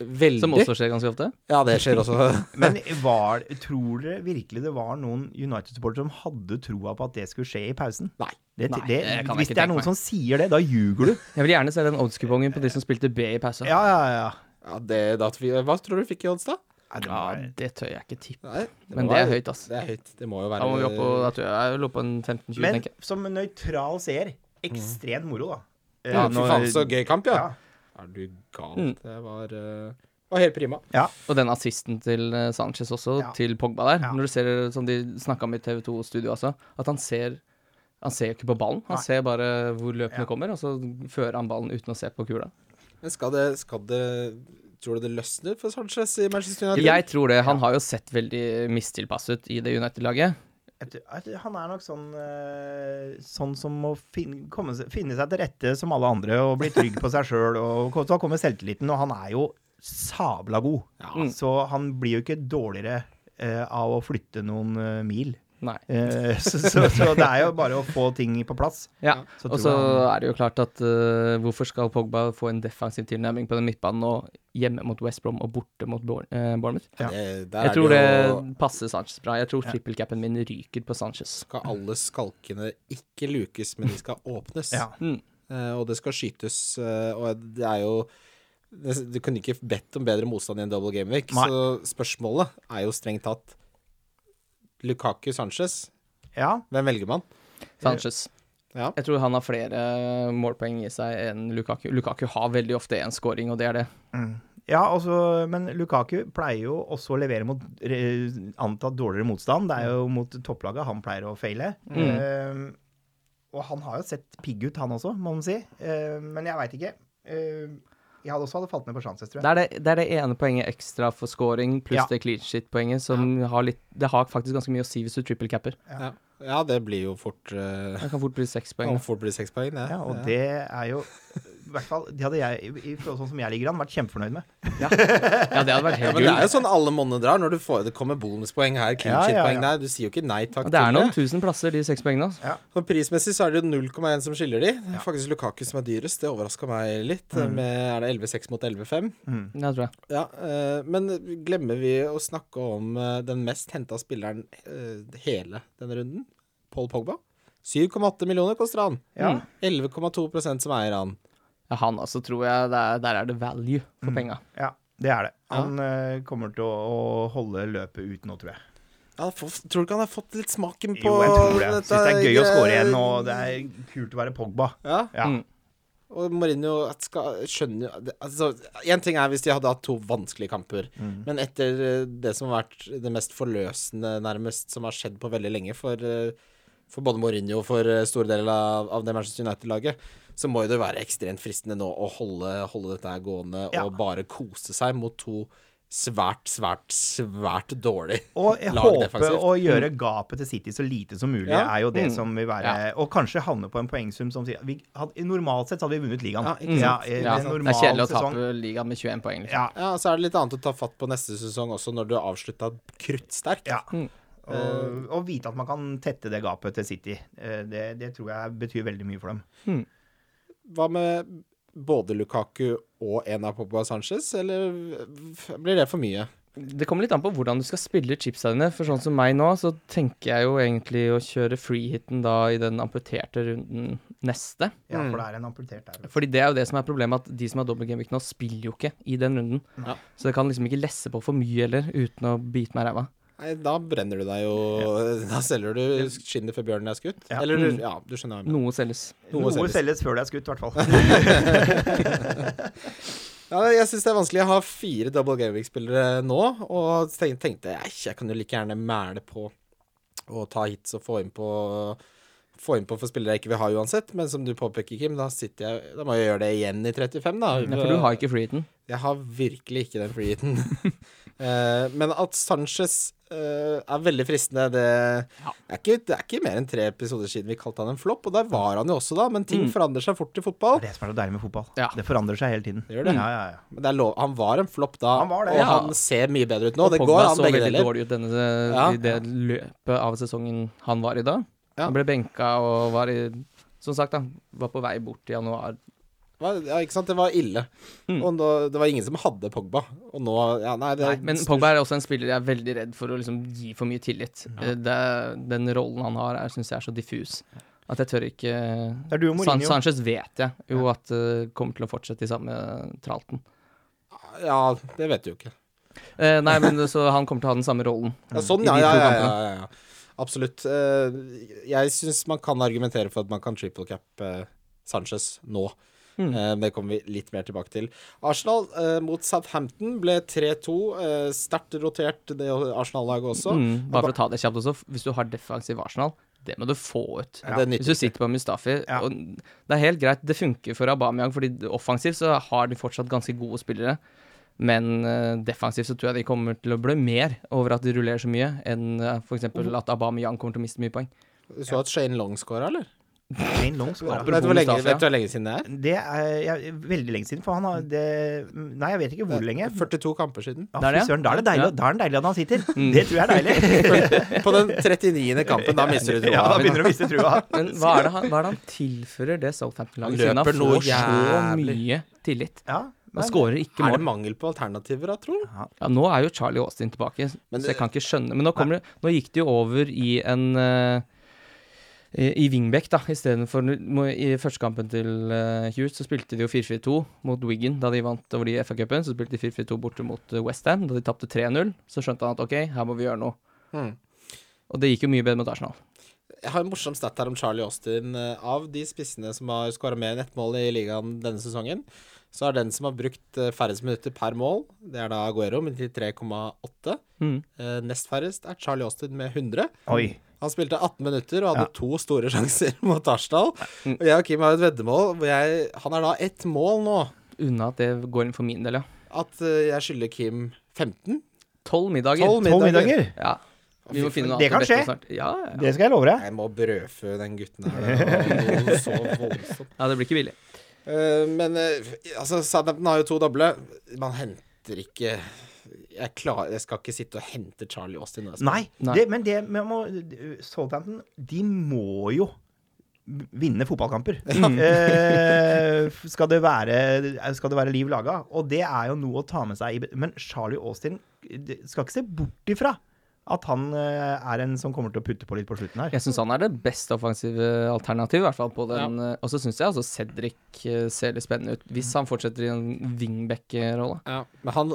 S1: veldig.
S2: Som også skjer ganske ofte.
S1: Ja, det skjer også.
S3: Men var, tror dere virkelig det var noen United-supportere som hadde troa på at det skulle skje i pausen?
S1: Nei.
S3: Det,
S2: Nei,
S3: det,
S2: det kan jeg
S3: hvis det
S2: ikke tenke
S3: er noen
S2: meg.
S3: som sier det, da ljuger du.
S2: Jeg vil gjerne se den oddskupongen på de som spilte B i pausen. Ja.
S3: Ja, ja, ja.
S1: Ja, det, da, hva tror du fikk i odds, da?
S3: Nei, det var,
S2: det tør jeg ikke tippe.
S1: Nei, det
S2: Men
S1: var-
S2: det er høyt, ass.
S1: Det er høyt. Det må jo være
S2: Da må vi opp på, da tror jeg jeg vil opp på en 15-20,
S3: men
S2: tenker jeg.
S3: som nøytral seer, ekstremt moro, da. Eh,
S1: Ja, fy
S3: når-
S1: faen, så gøy kamp, ja.
S3: Ja.
S1: Er du gal?
S2: Mm.
S1: Det var, eh, var helt prima.
S2: Og den assisten til eh, Sanchez også,
S3: Ja.
S2: til Pogba der.
S3: Ja.
S2: Når du ser, eh, som de snakka om i TV2-studio også, at han ser han ser jo ikke på ballen, han
S3: Nei.
S2: ser bare hvor løpene
S3: Ja.
S2: kommer, og så fører han ballen uten å se på kula.
S1: Men skal det, skal det Tror du det løsner for Sanchez i Manchester United?
S2: Jeg tror det. Han har jo sett veldig mistilpass ut i det United-laget.
S3: Jeg tror- jeg tror Han er nok sånn, eh, sånn som må fin komme seg, finne seg til rette som alle andre og bli trygg på seg sjøl. Og så kommer selvtilliten, og han er jo sabla god. Så han blir jo ikke dårligere eh, av å flytte noen eh, mil.
S2: Nei.
S3: Eh, så, så, så det er jo bare å få ting på plass.
S2: Ja,
S3: Så
S2: og
S3: tror
S2: så
S3: jeg
S2: er det jo klart at eh, hvorfor skal Pogba få en defensiv tilnærming på den midtbanen nå, hjemme mot West Brom og borte mot Bour- eh, Bournemouth?
S3: Ja.
S1: Det- der er
S2: Jeg tror det
S1: jo-
S2: passer Sanchez bra. Jeg tror trippelcapen min ryker på Sanchez.
S1: Skal alle skalkene ikke lukes, men de skal åpnes.
S3: Ja.
S2: Mm.
S1: Eh, og det skal skytes, eh, og det er jo det- Du kunne ikke bedt om bedre motstand i en double game week,
S3: Nei.
S1: så spørsmålet er jo strengt tatt Lukaku Sanchez,
S3: Ja,
S1: hvem velger man?
S2: Sanchez.
S1: Ja.
S2: Jeg tror han har flere målpoeng i seg enn Lukaku. Lukaku har veldig ofte én scoring, og det er det.
S3: Ja, altså, men Lukaku pleier jo også å levere mot eh, antatt dårligere motstand. Det er jo mot topplaget han pleier å feile. Eh, og han har jo sett pigg ut, han også, må man si. Eh, men jeg veit ikke. Eh, jeg hadde også hadde falt ned på sjanses, tror jeg.
S2: Det er det, det er det ene poenget ekstra for scoring, pluss
S3: Ja.
S2: det clean shit-poenget, som har litt Det har faktisk ganske mye å si hvis du trippelcapper.
S1: Ja, ja det blir jo fort eh,
S2: Det kan fort bli seks
S1: Kan
S2: poeng. da.
S1: fort bli seks poeng, det.
S3: Ja, og det er jo I hvert fall det hadde jeg, i- i forhold til sånn som jeg ligger an, vært kjempefornøyd med.
S2: Ja, det hadde vært
S1: Ja, men
S2: helt
S1: det
S2: gull.
S1: er jo sånn alle monner drar. Når du får, det kommer bonuspoeng her, clean
S3: Ja, ja,
S1: shit-poeng
S3: ja.
S1: der. Du sier jo ikke nei takk
S2: Det er noen
S1: til det.
S2: tusen plasser, de seks poengene. Altså.
S1: Og prismessig så er det jo 0,1 som skiller de. Det er faktisk Lukaku som er dyrest. Det overraska meg litt.
S3: Mm.
S1: Med, er det 11,6 mot 11,5?
S2: Ja, tror jeg.
S1: Ja, eh, men glemmer vi å snakke om eh, den mest henta spilleren eh, hele denne runden? Paul Pogba. 7,8 millioner koster han.
S3: Ja.
S1: Mm. 11,2 som eier han.
S2: Ja, han altså, tror jeg det er, Der er det value for penga.
S3: Ja, det er det. Han eh, kommer til å, å holde løpet ut nå, tror jeg.
S1: Ja, får, tror du ikke han har fått litt smaken på
S3: Jo, jeg tror det.
S1: dette
S3: Syns det er gøy å score igjen,
S1: gre-
S3: og det er kult å være Pogba.
S1: ja.
S3: Ja.
S2: Mm.
S1: Og Mourinho at skal, skjønner jo det- altså, En ting er hvis de hadde hatt to vanskelige kamper, men etter eh, det som har vært det mest forløsende, nærmest, som har skjedd på veldig lenge for, eh, for både Mourinho og for eh, store deler av, av det Manchester United-laget, så må jo det være ekstremt fristende nå å holde, holde dette her gående
S3: Ja.
S1: og bare kose seg mot to svært, svært, svært dårlig
S3: Og jeg
S1: lag
S3: håper
S1: defensivt.
S3: å
S2: Mm.
S3: gjøre gapet til City så lite som mulig
S1: Ja.
S3: er jo det som vil være Og kanskje havne på en poengsum som sier vi hadde, Normalt sett så hadde vi vunnet ligaen.
S1: Ja, ikke
S3: i
S1: sant?
S2: Ja,
S3: en
S2: det er
S3: normal
S2: kjedelig å
S3: sesong.
S2: tape ligaen med 21 poeng. Liksom.
S3: Ja,
S1: Ja, så er det litt annet å ta fatt på neste sesong også, når du har avslutta kruttsterk.
S3: ja.
S2: Mm.
S3: Og, og vite at man kan tette det gapet til City. Eh, Det, det tror jeg betyr veldig mye for dem.
S1: Hva med både Lukaku og en av Pogba og Sanchez, eller f- blir det for mye?
S2: Det kommer litt an på hvordan du skal spille chipsa dine. For sånn som meg nå, så tenker jeg jo egentlig å kjøre freehiten da i den amputerte runden neste.
S3: Ja,
S1: Mm.
S3: For det er en amputert der.
S2: Fordi det er jo det som er problemet, at de som har dobbel gameweek nå, spiller jo ikke i den runden.
S1: Ja.
S2: Så jeg kan liksom ikke lesse på for mye heller, uten å bite meg i ræva.
S1: Nei, da brenner du deg jo Da selger du skinnet før bjørnen er skutt.
S3: Ja.
S1: Eller
S2: Mm.
S1: du, ja, du skjønner hva jeg mener.
S2: Noe selges.
S1: Noe
S3: Noe
S1: selges.
S3: selges før det er skutt, i hvert fall.
S1: Ja, jeg syns det er vanskelig. Jeg har fire double gameweek-spillere nå, og tenk- tenkte jeg jeg kan jo like gjerne mæle på å ta hits og få inn på få inn på for spillere jeg ikke vil ha uansett, men som du påpeker, Kim, da sitter jeg Da må jeg gjøre det igjen i 35, da.
S2: Mm. Ja, for du har ikke freehiten.
S1: Jeg har virkelig ikke den freeheaten. Eh, men at Sanchez eh, er veldig fristende. Det er, ikke, det er ikke mer enn tre episoder siden vi kalte han en flopp, og der var han jo også da, men
S2: Mm.
S1: ting forandrer seg fort i
S3: Det
S1: fotball.
S3: er det som er så deilig med fotball.
S2: Ja. Mm.
S3: Det forandrer seg hele tiden.
S1: Det gjør det.
S3: Ja, ja, ja.
S1: Men det er lov, han var en flopp da,
S3: Han var det,
S1: og
S2: ja.
S1: han ser mye bedre ut nå. det
S2: Pogba
S1: går an
S2: så
S1: begge
S2: veldig
S1: deler.
S2: dårlig ut denne,
S1: Ja.
S2: i det løpet av sesongen han var i da.
S1: Ja.
S2: Han ble benka og var i Som sagt, da, var på vei bort i januar.
S1: Hva- Ja, ikke sant? Det var ille. Og nå, det var ingen som hadde Pogba. Og nå ja, nei, det,
S2: Mm. Nei, men Pogba er også en spiller jeg er veldig redd for å liksom gi for mye tillit. Eh, Det, den rollen han har, syns jeg er så diffus at jeg tør ikke
S3: Det er du og
S2: San
S3: Mourinho.
S2: Sanchez vet jeg jo at eh, kommer til å fortsette i samme tralten.
S1: Ja, det vet du jo ikke.
S2: Eh, nei, men så han kommer til å ha den samme rollen.
S1: Ja, sånn,
S2: Mm. I de
S1: ja. Ja,
S2: to
S1: ja, ja, ja, ja. Absolutt. Eh, Jeg syns man kan argumentere for at man kan triple cap eh, Sanchez nå.
S2: Mm.
S1: Eh, Det kommer vi litt mer tilbake til. Arsenal eh, mot Southampton ble 3-2. eh, Sterkt rotert, det Arsenal-laget også.
S2: Mm, bare for å ta det kjapt også, hvis du har defensiv Arsenal, det må du få ut.
S1: Ja, det
S2: Hvis du
S1: nytter ikke.
S2: sitter på Mustafi
S3: Ja.
S2: og Det er helt greit, det funker for Aubameyang, fordi offensivt så har de fortsatt ganske gode spillere. Men eh, defensivt så tror jeg de kommer til å blø mer over at de rullerer så mye, enn eh, for f.eks. at Aubameyang kommer til å miste mye poeng.
S1: Du så at Shane Long scora, eller?
S3: Shane Long skåra.
S2: Apropos
S1: Vet du hvor lenge,
S2: Mustafi, ja.
S1: vet du hvor lenge siden det er?
S3: Det er jeg, veldig lenge siden, for han har det Nei, jeg vet ikke hvor lenge.
S1: 42 kamper siden.
S3: Ja,
S2: Der,
S3: fy
S2: ja.
S3: søren, da er det deilig,
S2: Ja.
S3: da er det deilig at han sitter. Det tror jeg er deilig.
S1: På Mm. den 39. kampen, da mister
S3: Ja,
S1: du
S3: da
S1: troa.
S3: begynner du å miste trua.
S2: Men hva er det han, hva er det han tilfører det Southampton-laget?
S1: Han
S2: siden
S1: løper noe
S2: får så
S1: jævlig.
S2: mye tillit.
S3: Ja,
S2: Han skårer ikke
S1: Er
S2: mål.
S1: det mangel på alternativer, da, tro?
S2: Ja, nå er jo Charlie Austin tilbake,
S1: Men
S2: så
S1: det-
S2: jeg kan ikke skjønne Men nå, kommer, det- nå gikk det jo over i en eh, I i Wingback, da, istedenfor I første kampen til eh, Hughes så spilte de jo 4-4-2 mot Wiggen da de vant over de i FA-cupen. Så spilte de 4-4-2 borte mot Westham. Da de tapte 3-0, så skjønte han at ok, her må vi gjøre noe.
S3: Hmm.
S1: Mhm.
S2: Og det gikk jo mye bedre mot Arsenal.
S1: Jeg har en morsom stat her om Charlie Austin. Eh, Av de spissene som har skåra mer enn ett mål i ligaen denne sesongen, så er den som har brukt eh, færrest minutter per mål, det er da Aguero med 93,8.
S2: Mhm.
S1: Eh, Nest færrest er Charlie Austin med 100.
S3: Oi.
S1: Han spilte 18 minutter og hadde to store sjanser mot Arsenal. Og jeg og Kim har et veddemål hvor jeg Han er da ett mål nå.
S2: Unna at det går inn for min del, ja.
S1: At eh, jeg skylder Kim 15?
S2: Tolv middager.
S1: 12
S3: Tolv middager.
S2: Ja. Vi må finne noe
S3: Det kan
S2: annet til
S3: skje.
S2: beste snart. Ja, ja, ja.
S3: Det skal jeg love deg.
S1: Jeg må brødfø den gutten her. og Så voldsomt.
S2: ja, det blir ikke billig.
S1: Eh, men eh, altså, Southampton har jo to doble. Man henter ikke jeg, klar, jeg skal ikke sitte og hente Charlie Austin. når jeg spiller.
S3: Nei,
S2: Nei.
S3: Det, men det man må Southampton, de må jo vinne fotballkamper.
S2: Mm.
S3: Eh, skal, det være, skal det være liv laga? Og det er jo noe å ta med seg i be- Men Charlie Austin det- skal ikke se bort ifra at han eh, er en som kommer til å putte på litt på slutten her.
S2: Jeg syns han er det best offensive alternativet, i hvert fall på den. eh, Og så syns jeg altså Cedric eh, ser litt spennende ut, hvis han fortsetter i en wingback-rolle.
S1: Ja, men han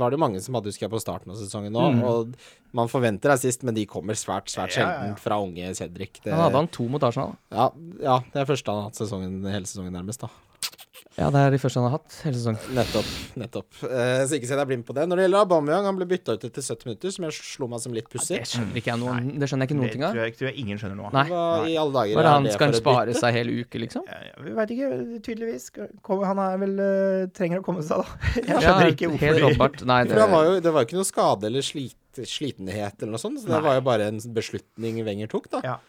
S1: var det jo mange som hadde husker jeg på starten av sesongen nå.
S2: Mm.
S1: Og man forventer deg sist, men de kommer svært
S3: Ja,
S1: svært
S3: ja, ja.
S1: sjelden fra unge Cedric. Det,
S2: Han hadde han to mot Arsenal.
S1: ja, ja, det er første han har hatt sesongen, hele sesongen nærmest, da.
S2: Ja, det er de første han har hatt hele sesongen.
S1: Nettopp. nettopp. Eh, så ikke se deg blind på det. Når det gjelder Aubameyang, han ble bytta ut etter 70 minutter, som jeg slo meg som litt pussig.
S2: Det skjønner ikke jeg noen, det skjønner jeg ikke
S3: Det
S2: noen ting av.
S3: tror jeg, tror jeg ingen skjønner noe av.
S2: Nei.
S1: Hva i alle dager
S2: Hva er det han
S1: det for
S2: skal han
S1: et
S2: spare seg hele uke, liksom?
S3: Jeg, jeg veit ikke, tydeligvis. Kom, han er vel eh, trenger å komme seg, da. Jeg
S2: Ja,
S3: skjønner ikke
S2: Helt
S3: hvorfor.
S2: åpenbart. Nei,
S1: For
S2: det
S1: han var jo, det var jo ikke noe skade eller slit, slitenhet eller noe sånt, så det var jo bare en beslutning Wenger tok, da.
S3: Ja.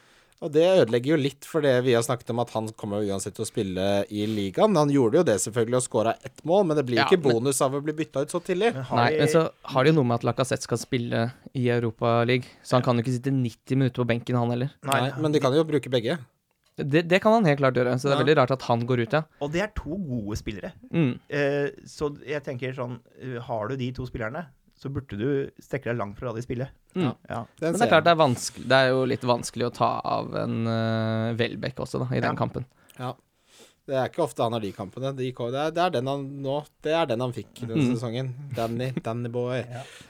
S1: Og det ødelegger jo litt for det vi har snakket om, at han kommer jo uansett til å spille i ligaen. Han gjorde jo det selvfølgelig og skåra ett mål, men det blir
S2: Ja,
S1: ikke
S2: men-
S1: bonus av å bli bytta ut så tidlig.
S3: Har
S2: Nei,
S3: vi-
S2: men så har de jo noe med at Lacassette skal spille i Europaligaen, så han kan jo ikke sitte 90 minutter på benken, han heller.
S1: Nei,
S3: Nei,
S1: men de kan jo bruke begge.
S2: Det, det kan han helt klart gjøre, så det er veldig rart at han går ut, ja.
S3: Og det er to gode spillere.
S2: Mm.
S3: Eh, så jeg tenker sånn eh, Har du de to spillerne, så burde du strekke deg langt fra de spiller.
S2: Mm.
S3: Ja.
S1: Den
S2: Men det
S1: ser
S2: er
S1: jeg.
S2: klart det er, vanskelig, det er jo litt vanskelig å ta av en uh, Welbeck også, da, i
S3: Ja.
S2: den kampen.
S1: Ja. Det er ikke ofte han har de kampene. De, ko- det, er, det, er den han, nå, det er den han fikk denne sesongen. Danny, Danny boy.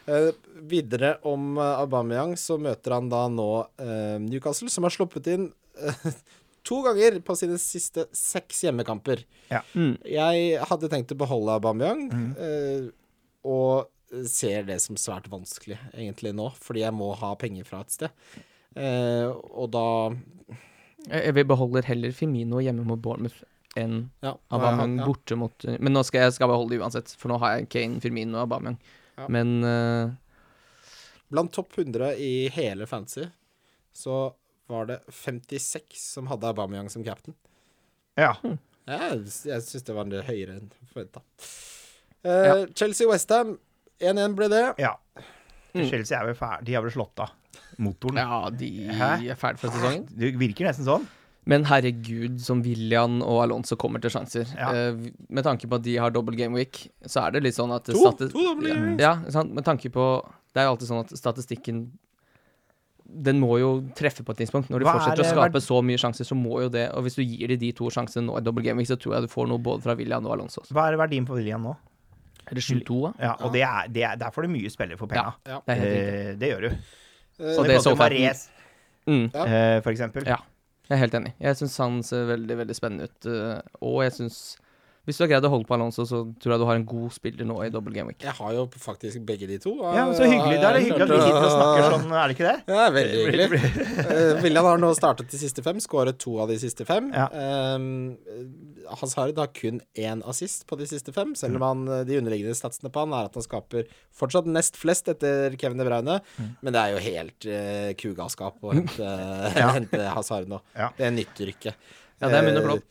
S1: Eh, videre om eh, Aubameyang, så møter han da nå eh, Newcastle, som har sluppet inn eh, to ganger på sine siste seks hjemmekamper.
S3: Ja.
S2: Mm.
S1: Jeg hadde tenkt å beholde Aubameyang, eh, og ser det som svært vanskelig egentlig nå, fordi jeg må ha penger fra et sted. Eh, og da
S2: Eh, Vi beholder heller Firmino hjemme mot Bournemouth enn
S1: ja,
S2: Aubameyang
S1: ja.
S2: borte mot eh, Men nå skal jeg skal beholde det uansett, for nå har jeg Kane, Firmino og Aubameyang.
S1: Ja.
S2: Men eh,
S1: Blant topp 100 i hele fantasy så var det 56 som hadde Aubameyang som captain.
S3: Ja.
S2: Mm.
S1: Jeg, jeg syns det var en del høyere enn forventa. Eh, Chelsea-Westham 1-1 ble det.
S3: ja. Chelsea er vel ferdig. De har vel slått av motoren.
S2: Mm. Ja, de
S3: Hæ?
S2: er ferdig for sesongen.
S3: Det virker nesten sånn.
S2: Men herregud, som William og Alonso kommer til sjanser.
S3: Ja.
S2: Eh, med tanke på at de har dobbel gameweek, så er det litt sånn at
S1: To- to double
S2: ja,
S1: gameweeks.
S2: ja, sant? Med tanke på Det er jo alltid sånn at statistikken Den må jo treffe på et tidspunkt. Når de
S3: Hva er
S2: fortsetter å
S3: det
S2: skape
S3: verd-
S2: så mye sjanser, så må jo det Og hvis du gir de de to sjansene nå i dobbel gameweek, så tror jeg du får noe både fra William og Alonso.
S3: Hva er verdien på William nå?
S2: Er det 7-2, da?
S3: Ja, og det er, det er, der får du mye spillere for penga.
S1: Ja.
S2: Det er helt riktig.
S3: Eh, det gjør du.
S1: Eh,
S2: Og
S3: I
S2: det er
S3: forhold til
S2: Southampton.
S3: Mahrez,
S2: Mm.
S1: Ja.
S3: eh, for eksempel.
S2: Ja, jeg er helt enig. Jeg syns han ser veldig veldig spennende ut. eh, Og jeg syns Hvis du har greid å holde på Alonso, så tror jeg du har en god spiller nå i double game week.
S1: Jeg har jo faktisk begge de to. og-
S3: Ja, men Så hyggelig. Da er det hyggelig at vi sitter og snakker sånn, er det ikke det?
S1: Ja, det er veldig hyggelig. Eh, William har nå startet de siste fem, skåret to av de siste fem.
S3: Ja.
S1: Um, Hazard har kun én assist på de siste fem, selv om han, eh, de underliggende statsene på han er at han skaper fortsatt nest flest etter Kevin De Bruyne, men det er jo helt eh, kugalskap å hente, hente Hazard nå.
S3: Ja.
S1: Det nytter ikke.
S2: Ja, det er munn og blå.
S1: Eh,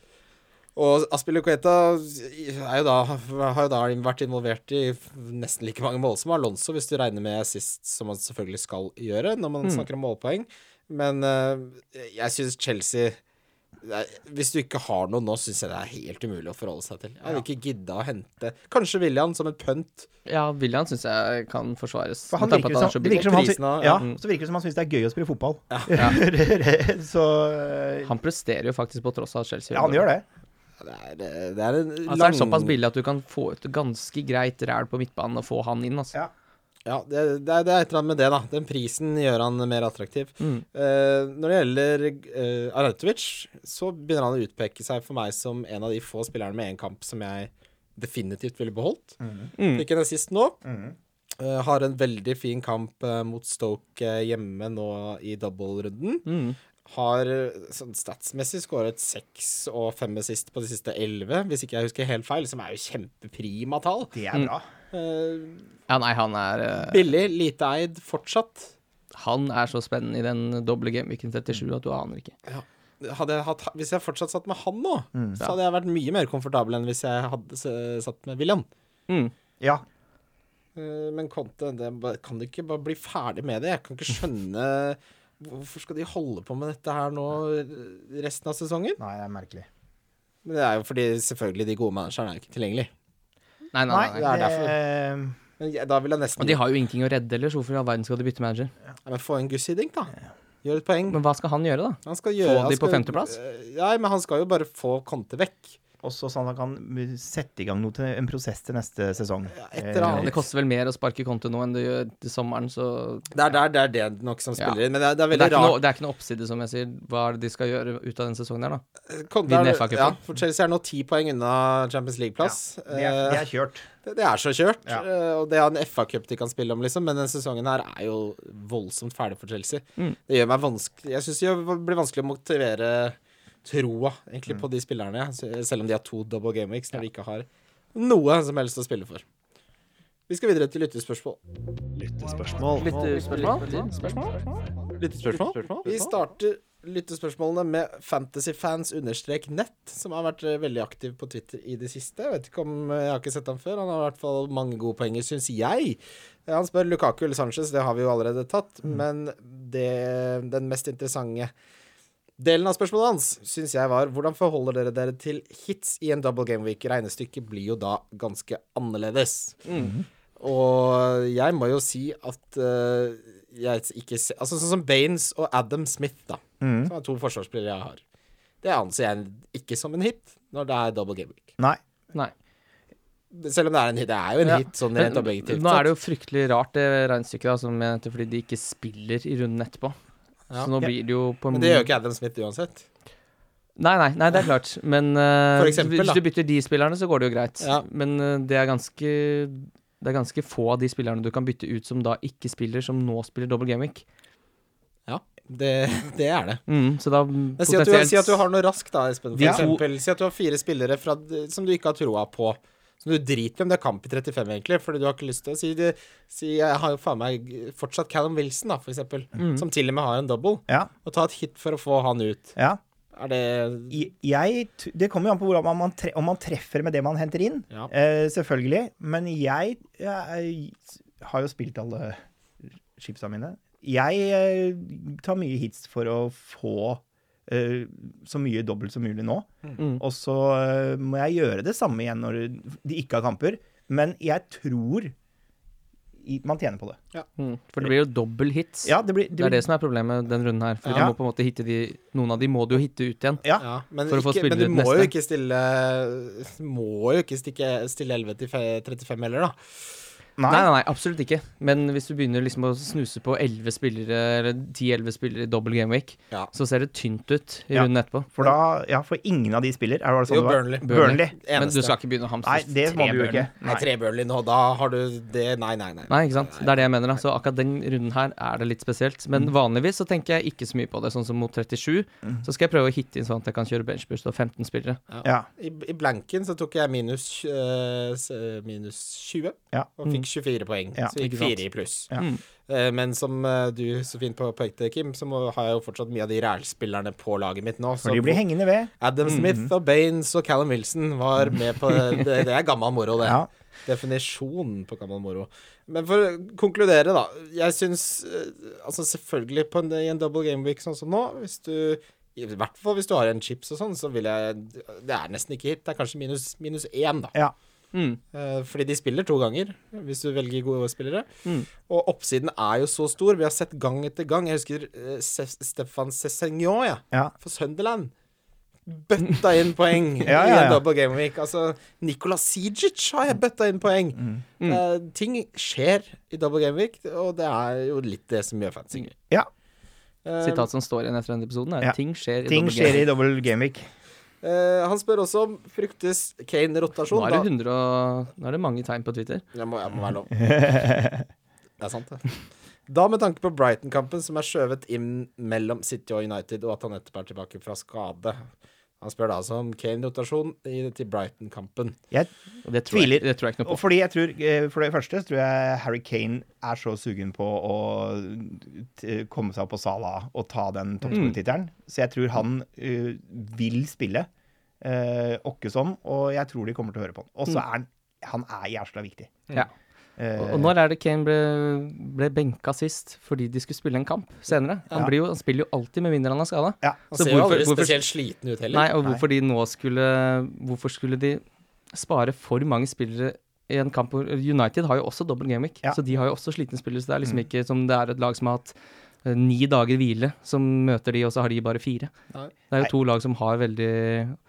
S1: og Aspilicueta er jo da, har jo da vært involvert i nesten like mange mål som Alonso, hvis du regner med assist, som man selvfølgelig skal gjøre når
S2: Mm.
S1: man snakker om målpoeng. Men eh, jeg syns Chelsea Nei, Hvis du ikke har noe nå, syns jeg det er helt umulig å forholde seg til. Jeg hadde ikke gidda å hente Kanskje William som en pønt.
S2: Ja, William syns jeg kan forsvares.
S3: For han
S2: med tanke på
S3: virker
S2: at
S3: som,
S2: er så
S3: det
S2: billig.
S3: virker som han,
S1: Prisen og-
S3: sy- ja,
S2: Mm.
S3: så virker det som han syns det er gøy å spille fotball. så eh,
S2: Han presterer jo faktisk på tross av Chelsea.
S3: ja, han gjør det.
S1: Det er, eh, det er en lang
S2: Altså, er det såpass billig at du kan få ut ganske greit ræl på midtbanen og få han inn. Altså.
S3: Ja.
S1: Ja, det, det, er, det er et eller annet med det, da. Den prisen gjør han mer attraktiv. Eh, når det gjelder uh, Arnautovic, så begynner han å utpeke seg for meg som en av de få spillerne med én kamp som jeg definitivt ville beholdt. Fikk en assist nå. Eh, har en veldig fin kamp eh, mot Stoke eh, hjemme nå i double-runden. Har eh, sånn statsmessig skåret seks og fem assist på de siste elleve, hvis ikke jeg husker helt feil, som er jo kjempeprima tall.
S3: Det
S2: Mm.
S3: er bra.
S1: Eh,
S2: Ja, nei, han er eh,
S1: Billig, lite eid, fortsatt.
S2: Han er så spennende i den doble gameweeken 37 at du aner ikke.
S1: Hadde jeg hatt, hvis jeg fortsatt satt med han nå,
S2: Mm.
S1: så hadde jeg vært mye mer komfortabel enn hvis jeg hadde s- satt med William.
S2: Mm.
S3: Ja.
S1: Eh, Men Conte, det, ba- kan du ikke bare bli ferdig med det? Jeg kan ikke skjønne Hvorfor skal de holde på med dette her nå eh, resten av sesongen?
S3: Nei, det er merkelig.
S1: Men det er jo fordi selvfølgelig de gode managerne er ikke tilgjengelig.
S2: Nei, nei,
S3: Nei,
S2: nei,
S1: det
S2: nei.
S1: er
S3: det er
S1: Men jeg, da vil jeg
S2: Og
S1: nesten
S2: de har jo ingenting å redde ellers. Hvorfor i all verden skal de bytte manager?
S1: Ja, men Få en Gussidink, da. Gjør et poeng.
S2: Men hva skal han gjøre, da?
S1: Han skal
S2: få
S1: gjøre, han
S2: de på
S1: skal-
S2: femteplass?
S1: eh, Nei, men han skal jo bare få Conte vekk.
S3: også sånn at han kan sette i gang noe til en prosess til neste sesong.
S1: et eller annet.
S2: Det koster vel mer å sparke konto nå enn det gjør til sommeren, så
S1: Det er, der- det er det nok som
S2: Ja.
S1: spiller inn. Men det er, det er
S2: det er,
S1: veldig
S2: ikke
S1: rart.
S2: noe, det er ikke noe oppside, som jeg sier, hva er det de skal gjøre ut av den sesongen her, da.
S1: Konte
S2: Vinne
S1: er-
S2: FA-cupen.
S1: ja, for Chelsea er nå ti poeng unna Champions League-plass.
S3: Eh, Det er, det er kjørt.
S1: Eh, det, det er så kjørt.
S3: Ja.
S1: eh, Og det er en FA-cup de kan spille om, liksom. Men denne sesongen her er jo voldsomt ferdig for Chelsea. Det gjør meg vanskelig Jeg syns det gjør- blir vanskelig å motivere troa, egentlig, på de spillerne. ja. Se- Selv om de har to double game weeks, når de ikke har noe som helst å spille for. Vi skal videre til lyttespørsmål.
S3: Lyttespørsmål.
S2: Lyttespørsmål?
S1: Lyttespørsmål? Vi starter lyttespørsmålene med fantasyfans-nett, som har vært eh, veldig aktiv på Twitter i det siste. Jeg vet ikke om eh, jeg har ikke sett ham før. Han har i hvert fall mange gode poenger, syns jeg. Eh, Han spør Lukaku eller Sanchez, det har vi jo allerede tatt. Men det, den mest interessante delen av spørsmålet hans syns jeg var hvordan forholder dere dere til hits i en double game week? Regnestykket blir jo da ganske annerledes. Og jeg må jo si at eh, jeg ikke ser Altså sånn som Baines og Adam Smith, da.
S2: Mm.
S1: Som er to forsvarsspillere jeg har. Det anser jeg ikke som en hit når det er double game week.
S3: Nei.
S2: Nei.
S1: Selv om det er en hit. Det er jo en
S2: Ja.
S1: hit sånn
S2: Men
S1: rent objektivt.
S2: nå er det jo fryktelig rart, det regnestykket, da, som jeg nevnte, fordi de ikke spiller i runden etterpå.
S1: Ja.
S2: Så nå
S3: Ja.
S2: blir det jo på
S1: Men det gjør jo ikke Adam Smith uansett.
S2: Nei, nei, nei, det er klart. Men eh,
S1: For eksempel,
S2: hvis
S1: da.
S2: du bytter de spillerne, så går det jo greit.
S1: Ja.
S2: Men eh, det er ganske det er ganske få av de spillerne du kan bytte ut som da ikke spiller, som nå spiller dobbel gameweek.
S1: Ja, det, det er det.
S2: Mm, så da
S1: Men si at, du, si at du har noe raskt, da, Espen. For
S2: Ja.
S1: eksempel, si at du har fire spillere fra, som du ikke har troa på, Som du driter i om det er kamp i 35, egentlig, fordi du har ikke lyst til å si det. Si, jeg har jo faen meg fortsatt Callum Wilson, da, for eksempel,
S2: Mhm.
S1: som til og med har en double.
S3: Ja,
S1: Og ta et hit for å få han ut.
S3: ja.
S1: Er det
S3: I- Jeg, t- det kommer jo an på hvordan man- man, tre, om man treffer med det man henter inn,
S1: Ja.
S3: eh, selvfølgelig. Men jeg, jeg har jo spilt alle chipsa mine. Jeg eh, tar mye hits for å få eh, så mye dobbelt som mulig nå.
S2: Mm.
S3: Og så eh, må jeg gjøre det samme igjen når de ikke har kamper. Men jeg tror i, man tjener på det.
S2: Mm. For det blir jo dobbel hits.
S3: Ja, det blir,
S2: Det er det som er problemet den runden her. For
S3: Ja.
S2: du må på en måte hitte de Noen av de må du jo hitte ut igjen.
S3: ja.
S1: Ja, men,
S2: For å få
S1: ikke, men
S2: spillere
S1: du
S2: til
S1: må jo
S2: neste.
S1: ikke stille Må jo ikke stikke, stille 11 til fe- 35 heller, da.
S3: Nei.
S2: Nei, nei, nei, absolutt ikke. Men hvis du begynner liksom å snuse på 11 spillere, eller 10-11 spillere i dobbel gameweek,
S1: Ja.
S2: så ser det tynt ut i
S3: Ja.
S2: runden etterpå.
S3: For da Ja, for ingen av de spiller. Er det sånn
S1: Jo,
S3: det var?
S1: Burnley.
S3: Burnley.
S2: Men du
S1: Eneste.
S2: skal ikke begynne å hamstre
S3: Nei, det må du jo ikke.
S1: Nei,
S3: Nei.
S1: tre Burnley nå, da har du det Nei, nei, nei.
S2: Nei, ikke sant. Det er det jeg mener. da. Så akkurat den runden her er det litt spesielt.
S3: Mm.
S2: Men vanligvis så tenker jeg ikke så mye på det. Sånn som mot 37, så skal jeg prøve å hitte inn sånn at jeg kan kjøre benchboost og 15 spillere.
S3: Ja.
S1: I, I blanken så tok jeg minus, eh, s- minus 20,
S3: Ja. Mm.
S1: og fikk 24 poeng.
S3: Ja,
S1: så gikk
S2: ikke sant.
S1: 4 i pluss.
S3: Ja.
S2: Mm.
S1: Eh, Men som eh, du så fint påpekte, Kim, så må, har jeg jo fortsatt mye av de rælspillerne på laget mitt nå.
S3: For de blir hengende ved.
S1: Adam Smith og Baines og Callum Wilson var med på det. Det, det er gammel moro, det.
S3: Ja.
S1: Definisjonen på gammel moro. Men for å konkludere, da. Jeg syns eh, Altså, selvfølgelig på en, i en double game week sånn som nå, hvis du i hvert fall hvis du har en chips og sånn, så vil jeg Det er nesten ikke hit. Det er kanskje minus, minus én, da.
S3: Ja.
S2: Mm.
S1: Eh, Fordi de spiller to ganger, hvis du velger gode spillere.
S2: Mm.
S1: Og oppsiden er jo så stor. Vi har sett gang etter gang. Jeg husker eh, Se- Stefan Cessegnon, ja
S3: Ja.
S1: for Sunderland. Bøtta inn poeng
S3: Ja, ja,
S1: i
S3: ja.
S1: en double game week. Altså, Nikola Sijic har jeg bøtta inn poeng. Eh, ting skjer i double game week, og det er jo litt det som gjør fancy gøy.
S3: Ja.
S1: Eh,
S2: Sitat som står igjen etter denne episoden, er
S3: Ja.
S2: ting skjer i
S3: Ting
S2: double
S3: skjer
S2: game.
S3: i dobbel gameweek.
S1: eh, han spør også om fryktes
S2: Nå
S1: Kane-rotasjon.
S2: er,
S1: Da-
S2: det 100 og, nå er det mange tegn på Twitter.
S1: Jeg må, jeg må være lov. Det er sant, det. Da med tanke på Brighton-kampen, som er skjøvet inn mellom City og United, og at han nettopp er tilbake fra skade. Han spør da altså om Kane-rotasjon i- til Brighton-kampen.
S3: Jeg,
S2: Og det tror, jeg,
S3: Tviler.
S2: det tror jeg ikke noe
S3: og
S2: på.
S3: fordi jeg tror, eh, for det første så tror jeg Harry Kane er så sugen på å t komme seg opp på Sala og ta den toppskårertittelen. Så jeg tror han eh, vil spille uh, Åkkesom, og jeg tror de kommer til å høre på han. Og så er han, han er jævla viktig.
S2: Ja.
S3: Eh,
S2: Og- Og når er det Kane ble, ble benka sist fordi de skulle spille en kamp senere? Han, blir jo, han spiller jo alltid med mindre han har skada.
S3: ja.
S1: Han
S2: Så
S1: ser jo
S2: hvorfor-
S1: aldri
S2: hvorfor-
S1: spesielt sliten ut heller.
S2: Nei, og hvorfor de nå skulle Hvorfor skulle de spare for mange spillere i en kamp hvor United har jo også dobbel gameweek,
S3: Ja.
S2: så de har jo også slitne spillere. Så det er liksom ikke som det er et lag som har hatt eh, ni dager hvile, som møter de, og så har de bare fire.
S1: Nei.
S2: Det er jo to lag som har veldig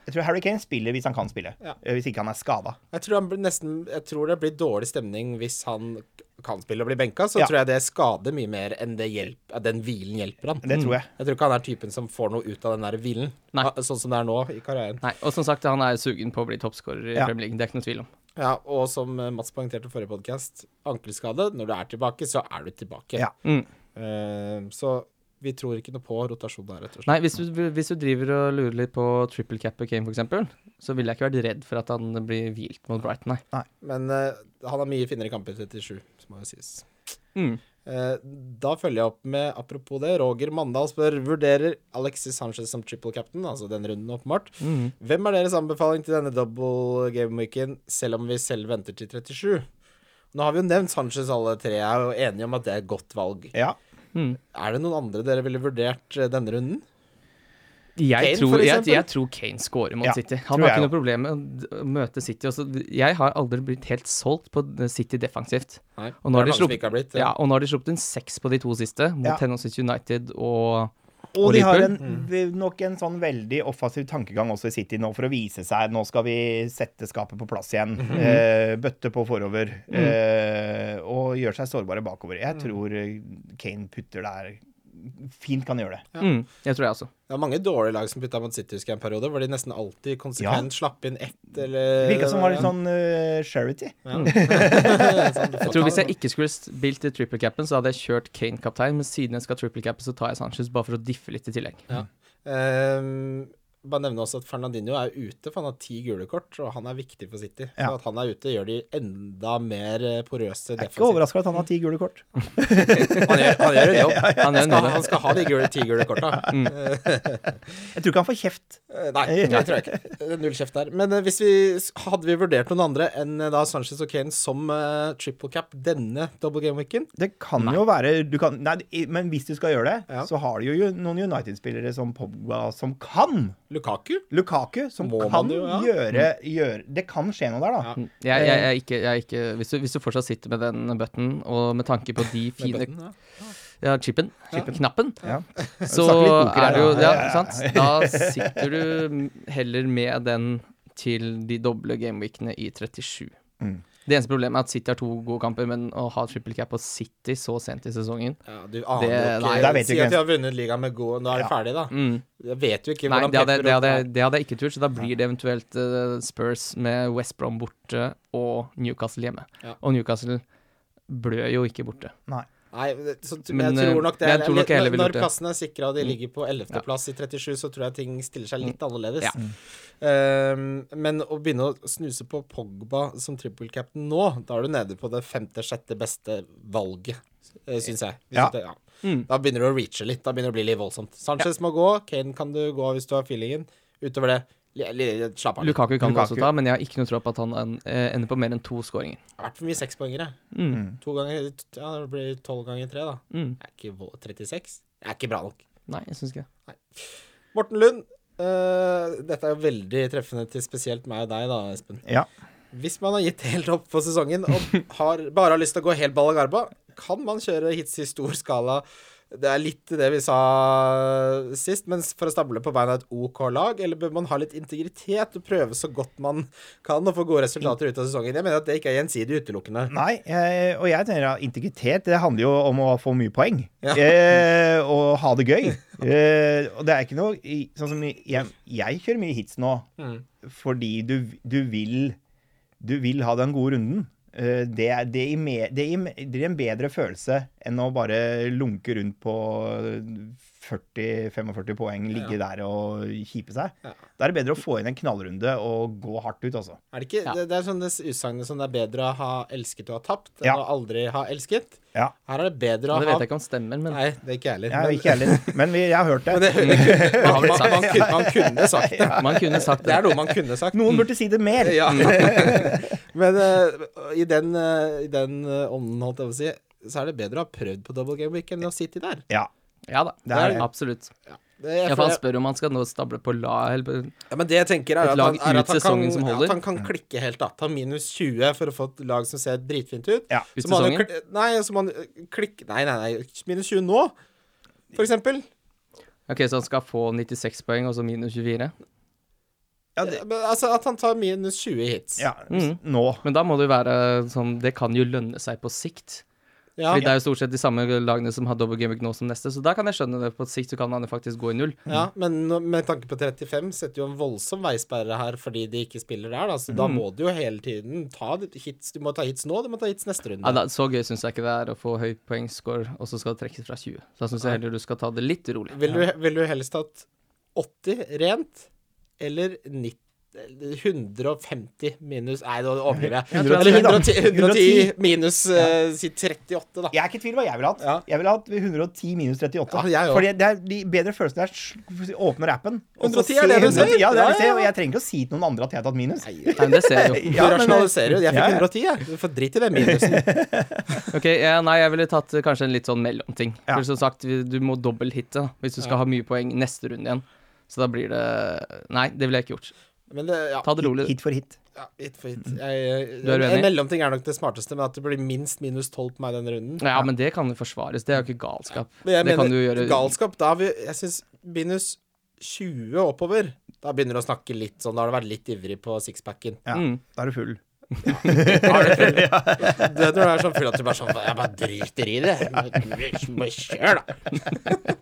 S3: Jeg tror Harry Kane spiller hvis han kan spille.
S1: Ja.
S3: Eh, hvis ikke han er skada.
S1: Jeg tror, han blir nesten, jeg tror det blir dårlig stemning hvis han kan spille og bli benka. Så
S3: Ja.
S1: tror jeg det skader mye mer enn det hjelp, at den hvilen hjelper han.
S3: Det tror jeg.
S1: Jeg tror ikke han er typen som får noe ut av den der hvilen,
S2: Nei.
S1: Ah, sånn som det er nå i karrieren.
S2: Nei, og som sagt, han er sugen på å bli toppskårer i
S3: Ja.
S2: Premier League, det er ikke noe tvil om.
S1: Ja, og som eh, Mats poengterte i forrige podkast, ankelskade. Når du er tilbake, så er du tilbake.
S3: Ja.
S2: Mm.
S1: Eh, så vi tror ikke noe på rotasjon der, rett og slett.
S2: Nei, hvis du, hvis du driver og lurer litt på triple cap og Kane, f.eks., så ville jeg ikke vært redd for at han blir hvilt mot Brighton, nei.
S1: Men eh, han har mye finere kamper i 37, som må jo sies.
S2: Mm.
S1: Eh, Da følger jeg opp med, apropos det, Roger Mandal spør Vurderer Alexis Sanchez som triple captain, altså den runden åpenbart.
S2: Mm.
S3: Mm.
S1: Hvem er deres anbefaling til denne double gameweeken, selv om vi selv venter til 37? Nå har vi jo nevnt Sanchez alle tre, jeg er jo enige om at det er et godt valg.
S3: Ja.
S1: Er det noen andre dere ville vurdert eh, denne runden?
S2: Jeg,
S1: Kane,
S2: tror,
S1: for
S2: jeg,
S1: eksempel?
S2: jeg tror Kane scorer mot
S3: Ja,
S2: City.
S3: tror
S2: Han har
S3: jeg
S2: ikke noe problem med å d- møte City. Også. Jeg har aldri blitt helt solgt på d- City defensivt.
S1: Nei,
S2: Og nå har
S1: det er
S2: de
S1: mange som
S2: sluppet-
S1: ikke har blitt. eh.
S2: Ja, og nå har de sluppet inn seks på de to siste, mot
S3: Ja.
S2: henholdsvis United og
S3: Og
S2: Og
S3: de har en,
S2: Liverpool.
S3: nok en sånn veldig offensiv tankegang også i City nå for å vise seg. Nå skal vi sette skapet på plass igjen. eh, bøtte på forover. Eh, og gjøre seg sårbare bakover. Jeg tror eh, Kane putter der Fint kan gjøre det.
S2: mm, Jeg tror jeg også.
S1: Det var mange dårlige lag som putta mot City husker jeg en periode, hvor de nesten alltid konsekvent slapp inn ett eller
S3: Det virka som det var litt sånn eh, charity.
S2: Jeg tror Hvis jeg ikke skulle spilt i triple capen, så hadde jeg kjørt Kane kaptein, men siden jeg skal ha triple capen, så tar jeg Sanchez bare for å diffe litt i tillegg.
S1: Ehm, bare nevne også at Fernandinho er ute, for han har ti gule kort, og han er viktig for City.
S3: Ja.
S1: Så at han er ute, gjør de enda mer eh, porøse
S3: Jeg er ikke overraska at han har ti gule kort.
S1: Han gjør, han gjør en jobb.
S2: Han gjør en
S1: Skal,
S2: del av
S1: han skal ha de gule, ti gule korta.
S3: Jeg tror ikke han får kjeft.
S1: Eh, Nei, det tror jeg ikke. Eh, Null kjeft der. Men eh, hvis vi, hadde vi vurdert noen andre enn eh, da Sanchez og Kane som eh, triple cap denne double game-weeken?
S3: Det kan jo være du kan, nei, i- Men hvis du skal gjøre det,
S1: Ja.
S3: så har du jo noen United-spillere som Pogba som kan.
S1: Lukaku?
S3: Lukaku, som
S1: Må man
S3: kan
S1: jo, ja. Mm.
S3: gjøre, gjøre Det kan skje noe der, da.
S1: Ja.
S2: Jeg, jeg, jeg, er ikke, jeg er ikke hvis, du, hvis du fortsatt sitter med den button, og med tanke på de fine
S1: button, ja.
S2: ja, chipen, knappen,
S3: Ja.
S2: så
S3: Snakker litt poker her,
S2: er det jo
S3: da.
S2: Ja,
S3: Ja, ja,
S2: sant? Da sitter du heller med den til de doble gameweekene i 37.
S3: Mm.
S2: Det eneste problemet er at City har to gode kamper, men å ha triple cap på City så sent i sesongen
S1: Ja, du aner
S2: Det-
S1: jo ikke.
S2: nei,
S3: der vet
S1: si
S3: jeg ikke.
S1: at de har vunnet ligaen med god Nå er de ferdig, da.
S2: mm.
S1: Jeg vet jo ikke
S2: Nei,
S1: hvordan
S2: det hadde,
S1: Pepper
S2: det,
S1: og-
S2: hadde, det hadde jeg ikke turt, så da blir det eventuelt eh, Spurs med West Brom borte og Newcastle hjemme.
S1: Ja.
S2: Og Newcastle blør jo ikke borte.
S1: Nei, det- så, t-
S2: Men,
S1: jeg
S2: eh,
S1: tror nok det
S2: men
S1: er,
S2: jeg tror nok jeg heller
S1: når,
S2: ville
S1: når
S2: gjort det. Mm.
S1: plassene er sikra og de ligger på 11.
S2: Ja. Mm.
S1: plass i 37, så tror jeg ting stiller seg litt annerledes.
S2: Ja.
S1: Ehm, men å begynne å snuse på Pogba som triple captain nå, da er du nede på det femte-sjette beste valget, eh, syns jeg. Hvis
S3: Ja.
S1: at det- ja.
S2: Mm.
S1: Da begynner du å reache litt. Da begynner det å bli litt voldsomt. Sanchez må gå, Kane kan du gå hvis du har feelingen. Utover det, li, li, slapp av. litt.
S2: Lukaku kan du
S3: Lukaku.
S2: også ta, men jeg har ikke noe tro på at han eh, ender på mer enn to skåringer.
S1: Det har vært for mye sekspoengere.
S2: Mm.
S1: To ganger Ja, det blir tolv ganger tre, da.
S2: Mm.
S1: Det er ikke vå- 36. Det er ikke bra nok.
S2: Nei, jeg syns ikke det.
S1: Morten Lund, eh, dette er veldig treffende til spesielt meg og deg, da, Espen.
S3: Ja.
S1: Hvis man har gitt helt opp for sesongen og har, bare har lyst til å gå helt Ballagarba, kan man kjøre hits i stor skala. Det er litt det vi sa sist, men for å stable på beina et OK lag, eller bør man ha litt integritet og prøve så godt man kan og få gode resultater ut av sesongen? Jeg mener at det ikke er gjensidig utelukkende.
S3: Nei, eh, og jeg tenker at integritet det handler jo om å få mye poeng.
S1: Ja.
S3: Eh, og ha det gøy. Eh, og det er ikke noe i- Sånn som i- jeg, jeg kjører mye hits nå
S1: Mm.
S3: fordi du, du vil Du vil ha den gode runden. Eh, det, er- det, gir me- det, gir, me- det gir en bedre følelse enn å bare lunke rundt på 40-45 poeng, ligge der og kjipe seg.
S1: Ja.
S3: Da er det bedre å få inn en knallrunde og gå hardt ut, altså.
S1: Er det ikke
S2: Ja.
S1: det, det er sånn det utsagnet som det er bedre å ha elsket og ha tapt, enn
S3: Ja.
S1: å aldri ha elsket.
S3: Ja.
S1: Her er det bedre å
S2: Det
S1: ha
S2: vet jeg ikke om stemmer, men
S1: Nei, det er ikke jeg heller.
S3: Jeg,
S1: Men-
S3: ikke heller, men vi, jeg har hørt det.
S1: Men det, det kunne,
S2: har
S1: man,
S2: blitt sagt.
S1: man, kunne, man kunne sagt det.
S2: man kunne sagt
S1: Det
S2: det.
S1: er noe man kunne sagt.
S3: Noen burde si det mer.
S1: Ja. Men eh, i den, eh, i den eh, ånden, holdt jeg på å si, så er det bedre å ha prøvd på double game week enn å sitte der.
S3: Ja.
S2: Ja da,
S3: Det er det.
S2: absolutt.
S1: Det, jeg,
S2: Ja, for
S1: føler-
S2: han spør om han skal nå stable på la eller
S1: ja, men det jeg tenker er
S2: Et
S1: at,
S2: lag
S1: han, er
S2: ut
S1: at, han,
S2: sesongen som
S1: kan,
S2: holder.
S1: at han kan klikke helt av. Ta minus 20 for å få et lag som ser dritfint ut.
S3: Ja,
S2: ut
S1: så må han jo
S2: sesongen.
S1: kli- Nei, så må han eh, klikke Nei, nei, nei. Minus 20 nå, for eksempel.
S2: Ok, så han skal få 96 poeng, og så minus 24?
S3: Ja, det,
S1: Men, altså at han tar minus 20 hits.
S3: ja
S2: Mm.
S3: Nå.
S2: Men da må det jo være sånn Det kan jo lønne seg på sikt.
S1: Ja.
S2: Fordi Det er jo stort sett de samme lagene som har double gimmick nå som neste, så da kan jeg skjønne det. På sikt så kan han jo faktisk gå i null.
S1: Ja, men nå- med tanke på 35 setter jo en voldsom veisperre her fordi de ikke spiller der, da. Så da
S2: Mm.
S1: må du jo hele tiden ta d- hits. Du må ta hits nå, du må ta hits neste runde.
S2: Ja, da, så gøy syns jeg ikke det er å få høy poengscore, og så skal det trekkes fra 20. Så da syns jeg heller du skal ta det litt rolig.
S1: vil, du, vil du helst hatt 80 rent eller 90? eller 150 minus Nei, nå overdriver jeg.
S2: tror
S1: Eller
S2: jeg-
S1: 110, 110
S3: 110
S1: minus eh, si 38, da.
S3: Jeg er ikke i tvil hva jeg ville hatt.
S1: Ja.
S3: Jeg ville hatt 110 minus 38.
S1: Ja, jeg også.
S3: Fordi det er de bedre følelsene der sl- åpner appen. og så
S1: 110 er det
S3: ser-
S1: du sier?
S3: Ja, det er det jeg
S1: Ja, ja,
S3: sier,
S1: ja.
S3: og jeg trenger ikke å si til noen andre at jeg har tatt minus.
S1: Nei,
S2: Nei, men det ser jeg jo.
S1: du
S3: Ja, men-
S1: rasjonaliserer jo. Jeg
S3: Ja,
S1: fikk
S3: ja.
S1: 110, jeg. Du får drit i den minusen.
S2: Ok, ja, Nei, jeg ville tatt eh, kanskje en litt sånn mellomting.
S3: Ja.
S2: For som sagt, vi- du må dobbelthitte da, hvis du skal ha mye poeng neste runde igjen. Så da blir det Nei, det ville jeg ikke gjort.
S1: Men det, ja.
S2: Ta det rolig.
S3: Hit for hit.
S1: ja hit for hit. Jeg,
S2: Du er uenig?
S1: en mellomting er nok det smarteste, men at det blir minst minus 12 på meg denne runden.
S2: Ja, men det kan jo forsvares. Det er jo ikke galskap.
S1: Men jeg
S2: det
S1: mener,
S2: kan du gjøre
S1: galskap Da har vi Jeg syns minus 20 oppover Da begynner du å snakke litt sånn Da har du vært litt ivrig på sixpacken.
S3: Ja,
S2: Mm.
S3: Da er du full.
S1: Da er Du full. Du vet når du er sånn full at du bare sånn Jeg bare driter i det. Bare Kjør, da.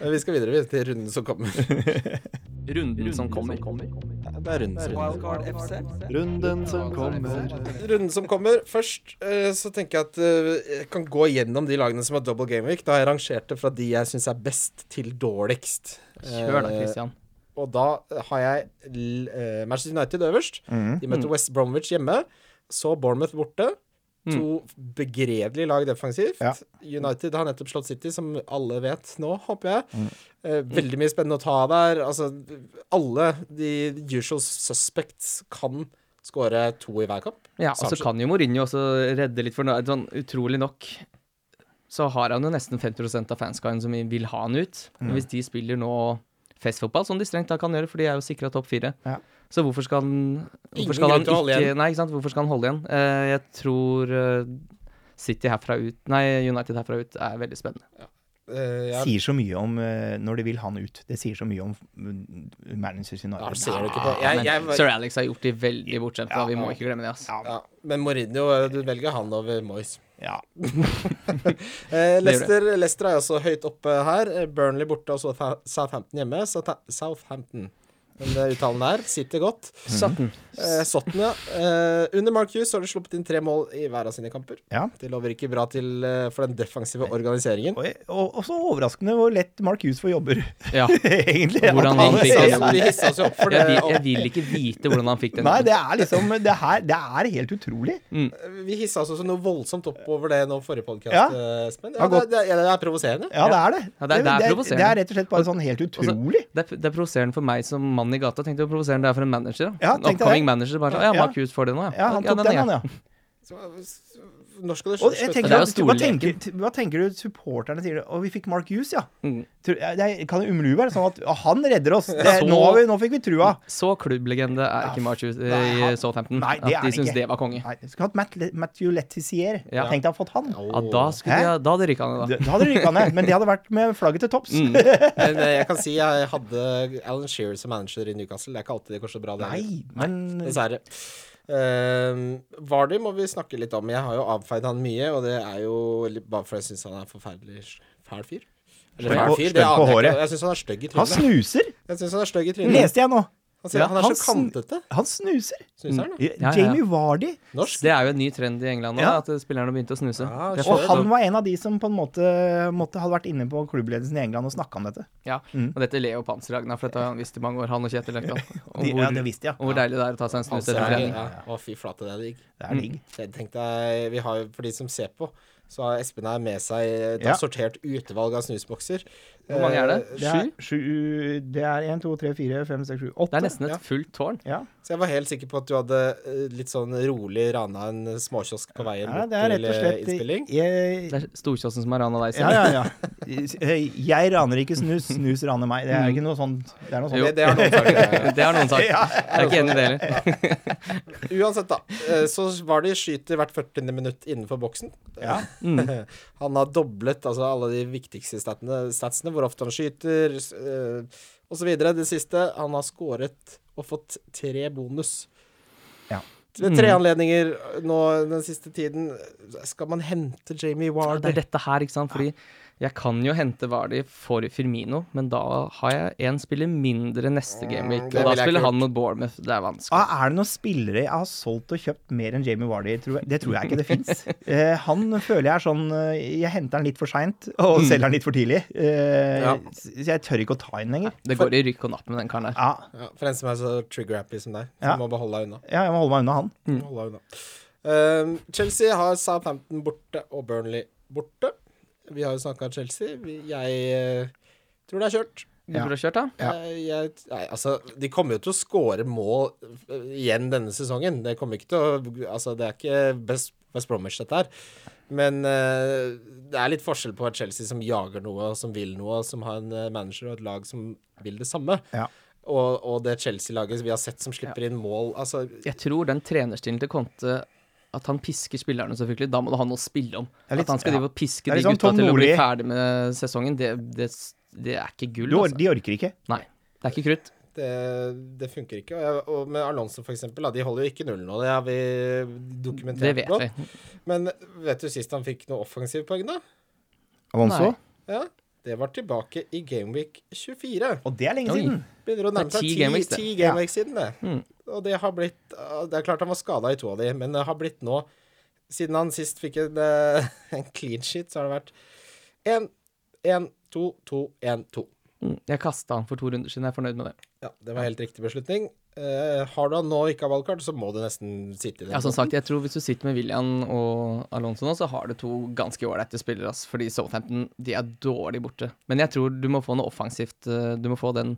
S1: Men Vi skal videre vi, til runden som kommer. Det
S2: Runden som kommer.
S1: er runden som kommer.
S4: Runden som kommer.
S1: Runden som kommer Først eh, så tenker jeg at eh, jeg kan gå gjennom de lagene som har double game week. Da har jeg rangert det fra de jeg syns er best, til dårligst.
S2: Kjør da,
S1: Eh,
S2: Christian.
S1: og da har jeg l- eh, Manchester United øverst. De møter
S2: Mm.
S1: West Bromwich hjemme. Så Bournemouth borte.
S2: Mm.
S1: To begredelige lag defensivt.
S3: Ja.
S1: United har nettopp slått City, som alle vet nå, håper jeg. Eh, veldig mye spennende å ta der. Altså, alle de usual suspects kan skåre to i hver kamp.
S2: Ja, og så
S1: Sancho.
S2: kan jo Mourinho også redde litt for noe. Sånn, utrolig nok så har han jo nesten 50 av fanskaren som vil ha han ut.
S3: Mm.
S2: Men Hvis de spiller nå festfotball, som de strengt da kan gjøre, for de er jo sikra topp fire,
S3: Ja.
S2: så hvorfor skal han,
S1: Ingen
S2: hvorfor skal han
S1: grunn til å holde
S2: ikke
S1: igjen.
S2: Nei, ikke sant. Hvorfor skal han holde igjen? Eh, jeg tror eh, City herfra ut Nei, United herfra ut er veldig spennende.
S1: Eh, jeg
S3: Sier så mye om eh, når de vil han ut. Det sier så mye om eh, Manchester
S1: Ja,
S3: United.
S1: ser du ikke på jeg,
S2: men
S1: jeg,
S2: Sir Alex har gjort de veldig bortskjemte, da. vi må ikke glemme det. altså. ass.
S1: ja, Men Mourinho, eh, du velger han over Moyes.
S3: Ja.
S1: Eh, Leicester, Leicester er også høyt oppe her. Eh, Burnley borte og så Tha- Southampton hjemme. Southa Southampton. Men det uttalen der sitter godt.
S2: Sutton.
S1: Eh, Sutton, ja. Eh, under Mark Hughes har de sluppet inn tre mål i hver av sine kamper.
S3: Ja.
S1: Det lover ikke bra til eh, for den defensive organiseringen.
S3: Og, og, og så overraskende hvor lett Mark Hughes får jobber,
S2: Ja.
S3: egentlig.
S2: Hvordan
S3: At
S2: han fikk
S1: Ja,
S2: det.
S1: så Vi hissa oss jo opp for det.
S2: Jeg vil, jeg
S1: og
S2: vil ikke vite hvordan han fikk den.
S3: Nei, det er liksom Det, her, det er helt utrolig.
S1: Vi hissa oss også noe voldsomt opp over det nå forrige podkast,
S3: Ja.
S1: Espen.
S3: Har
S1: Ja, det,
S3: gått-
S1: det, det er provoserende.
S3: Ja, det er det.
S2: Ja, det er- det er provoserende.
S3: det er rett og slett bare sånn helt
S2: Og så-
S3: utrolig.
S2: Det er, det er provoserende for meg som mann i gata. Tenkte hvor provoserende det er for en manager. da.
S3: Ja,
S2: en
S3: tenk deg det.
S2: oppcoming manager. Bare, sånn, ja,
S3: Ja.
S2: Mark Hughes får det nå, ja.
S3: Ja, han tok
S2: er
S3: den, han,
S2: grei.
S3: ja.
S1: Så, når skal det
S3: Og
S1: slutte?
S3: jeg
S2: det
S3: tenker,
S2: er jo
S3: at- hva, tenker,
S2: storleken.
S3: hva tenker du supporterne sier? Og vi fikk Mark Hughes, ja.
S2: Mm.
S3: Tror- ja, Det er- kan jo umulig være sånn at «Å, han redder oss. Det,
S2: Så-
S3: nå, har vi, nå fikk vi trua.
S2: Så klubblegende er ikke Mark Hughes eh,
S3: Nei, han-
S2: i Southampton.
S3: Nei, det er
S2: at de
S3: han
S2: syns
S3: ikke.
S2: det var konge.
S3: Nei, skulle hatt Matt, Le- Matthew Letizier.
S2: Ja.
S3: Tenk deg å ha fått han.
S2: Ja, da, skulle
S3: Hæ?
S2: de, da hadde de rykka ned, da.
S3: Da hadde det rykka ned. Men det hadde vært med flagget til topps.
S2: Mm.
S1: Men eh, jeg kan si jeg hadde Alan Shearer som manager i Newcastle. Det er ikke alltid det går så bra. det heller.
S3: Nei, men
S1: Dessverre. Ehm, Vardy må vi snakke litt om. Jeg har jo avfeid han mye, og det er jo litt bare fordi jeg syns han er en forferdelig s- fæl fyr. Eller
S3: Stygg
S1: fæl
S3: på-
S1: fyr, det
S3: stygg på
S1: aner jeg
S3: håret.
S1: ikke. Jeg syns han er stygg i
S3: han
S1: trynet.
S3: snuser,
S1: Jeg synes han er stygg i
S2: Mm.
S1: trynet.
S3: leste jeg nå.
S1: Han, ser,
S2: Ja,
S1: han er
S3: han Mm.
S1: så
S3: sn-
S1: kantete.
S3: Han snuser.
S1: Synes han, da.
S3: Ja,
S2: ja, ja.
S3: Jamie Vardy.
S1: Norsk.
S2: Det er jo en ny trend i England nå,
S3: Ja.
S2: at eh, spillerne begynte å snuse.
S1: Ja,
S2: Det er
S1: skjønner.
S3: Og
S2: for-
S3: han var en av de som på en måte, måtte, hadde vært inne på klubbledelsen i England og snakka om dette.
S2: ja. Og dette ler jo Panserhagen av, for dette har han visst i mange år, han og Kjetil Løkland. Og
S3: De-
S2: hvor,
S3: Mm. ja, det visste Altså, jeg.
S2: og hvor deilig det er å ta seg
S1: Han
S2: en snus
S1: ser,
S2: etter trening.
S1: ja. Å, fy flate, det er digg.
S3: Det er
S2: Mm.
S3: digg.
S1: Jeg tenkte jeg- vi har jo, For de som ser på, så har Espen her med seg eh, et
S3: Ja.
S1: sortert utvalg av snusbokser. Eh,
S2: Hvor mange er det?
S3: Det er
S2: Sju?
S3: sju Det er én, to, tre, fire, fem, seks, sju, åtte.
S2: Det er nesten
S1: Ja.
S2: et fullt tårn.
S3: Ja.
S1: Så jeg var helt sikker på at du hadde eh, litt sånn rolig rana en småkiosk på veien
S3: ja,
S1: bort
S3: det er
S1: til
S3: rett og
S1: eh,
S3: slett
S1: innspilling.
S3: jeg,
S2: Det er storkiosen som har rana deg
S3: Ja,
S2: selv.
S3: ja, ja. Jeg raner ikke snus, snus raner meg. Det er ikke noe sånt. Det er noe sånn. sånt.
S1: Det, det har noen sagt.
S2: Det har noen sagt. Jeg er ikke enig i det heller.
S1: Uansett, da. eh, Så var det skyter hvert 40. minutt innenfor boksen.
S3: Ja.
S2: Mm.
S1: Han har doblet altså, alle de viktigste statene, statsene, hvor ofte han skyter eh, osv. Det siste Han har skåret og fått tre bonus.
S3: Ja.
S1: Ved
S2: Mm.
S1: tre anledninger nå den siste tiden. Skal man hente Jamie
S2: Ja, Det
S1: Warder?
S2: er dette her, ikke sant? Fordi jeg kan jo hente Vardy for Firmino, men da har jeg én spiller mindre neste gameweek.
S1: det
S2: Og da
S1: ville jeg
S2: spiller
S1: ikke
S2: han mot Bournemouth. Det er vanskelig.
S3: Ah, er det noen spillere jeg har solgt og kjøpt mer enn Jamie Wardy? Tror jeg. Det tror jeg ikke det fins. Eh, han føler jeg er sånn eh, Jeg henter han litt for seint
S2: Mm.
S3: og selger han litt for tidlig. Eh,
S1: Ja.
S3: Så jeg tør ikke å ta han lenger.
S2: Det går i rykk og napp med den karen der.
S3: Ja,
S1: Ja, for en som er så trigger-happy som deg.
S3: Ja.
S1: Som må bare holde deg unna.
S3: ja, jeg må holde meg unna han.
S2: Mm.
S1: Holde deg unna. Ehm, Chelsea har Southampton borte og Burnley borte. Vi har jo snakka om Chelsea. Vi, jeg eh, tror det er kjørt.
S2: Du burde ha kjørt, da.
S1: Jeg, Eh, jeg, nei, altså, de kommer jo til å skåre mål eh, igjen denne sesongen. Det kommer ikke til å Altså, det er ikke Best, best Bromwich, dette her. Men eh, det er litt forskjell på et Chelsea som jager noe, og som vil noe, og som har en eh, manager og et lag som vil det samme.
S3: Ja.
S1: Og, og det Chelsea-laget vi har sett som slipper inn mål Altså,
S2: Jeg tror den trenerstilen til Conte at han pisker spillerne, selvfølgelig. Da må du ha noe å spille om.
S3: er litt-
S2: at han skal
S3: ja.
S2: drive og piske
S3: Det er
S2: de
S3: litt sånn
S2: gutta
S3: Tom
S2: til å bli
S3: Nordli.
S2: ferdig med sesongen, det, det, det er ikke gull,
S3: Du, or-
S2: altså.
S3: de orker ikke.
S2: Nei. Det er ikke krutt.
S1: det, det funker ikke. Og, jeg, og med Alonso, for eksempel, da, de holder jo ikke null nå. Det har vi dokumentert
S2: Det vet Mm,
S1: godt.
S2: vi.
S1: Men vet du sist han fikk noe offensive poeng, da?
S3: Alonso?
S1: Ja,
S2: Nei.
S1: det var tilbake i Gameweek 24.
S3: Og det er lenge
S2: Oi.
S3: siden.
S1: Begynner å nærme
S2: Det er
S1: seg
S2: ti
S1: ti
S2: gameweeks, det. Mm.
S1: ti gameweeks siden, det. Og det har blitt uh, Det er klart han var skada i to av de, men det har blitt nå Siden han sist fikk en, uh, en clean sheet, så har det vært 1, 1, 2, 2, 1, 2.
S2: Mm, Jeg kasta han for to runder siden, jeg er fornøyd med det.
S1: Ja, det var helt riktig beslutning. Eh, har du han nå og ikke har wildcard, så må du nesten sitte i den.
S2: Ja, som sagt, jeg tror Hvis du sitter med William og Alonso nå, så har du to ganske ålreite spillere. Ass, fordi Southampton de er dårlig borte. Men jeg tror du må få noe offensivt. eh, Du må få den,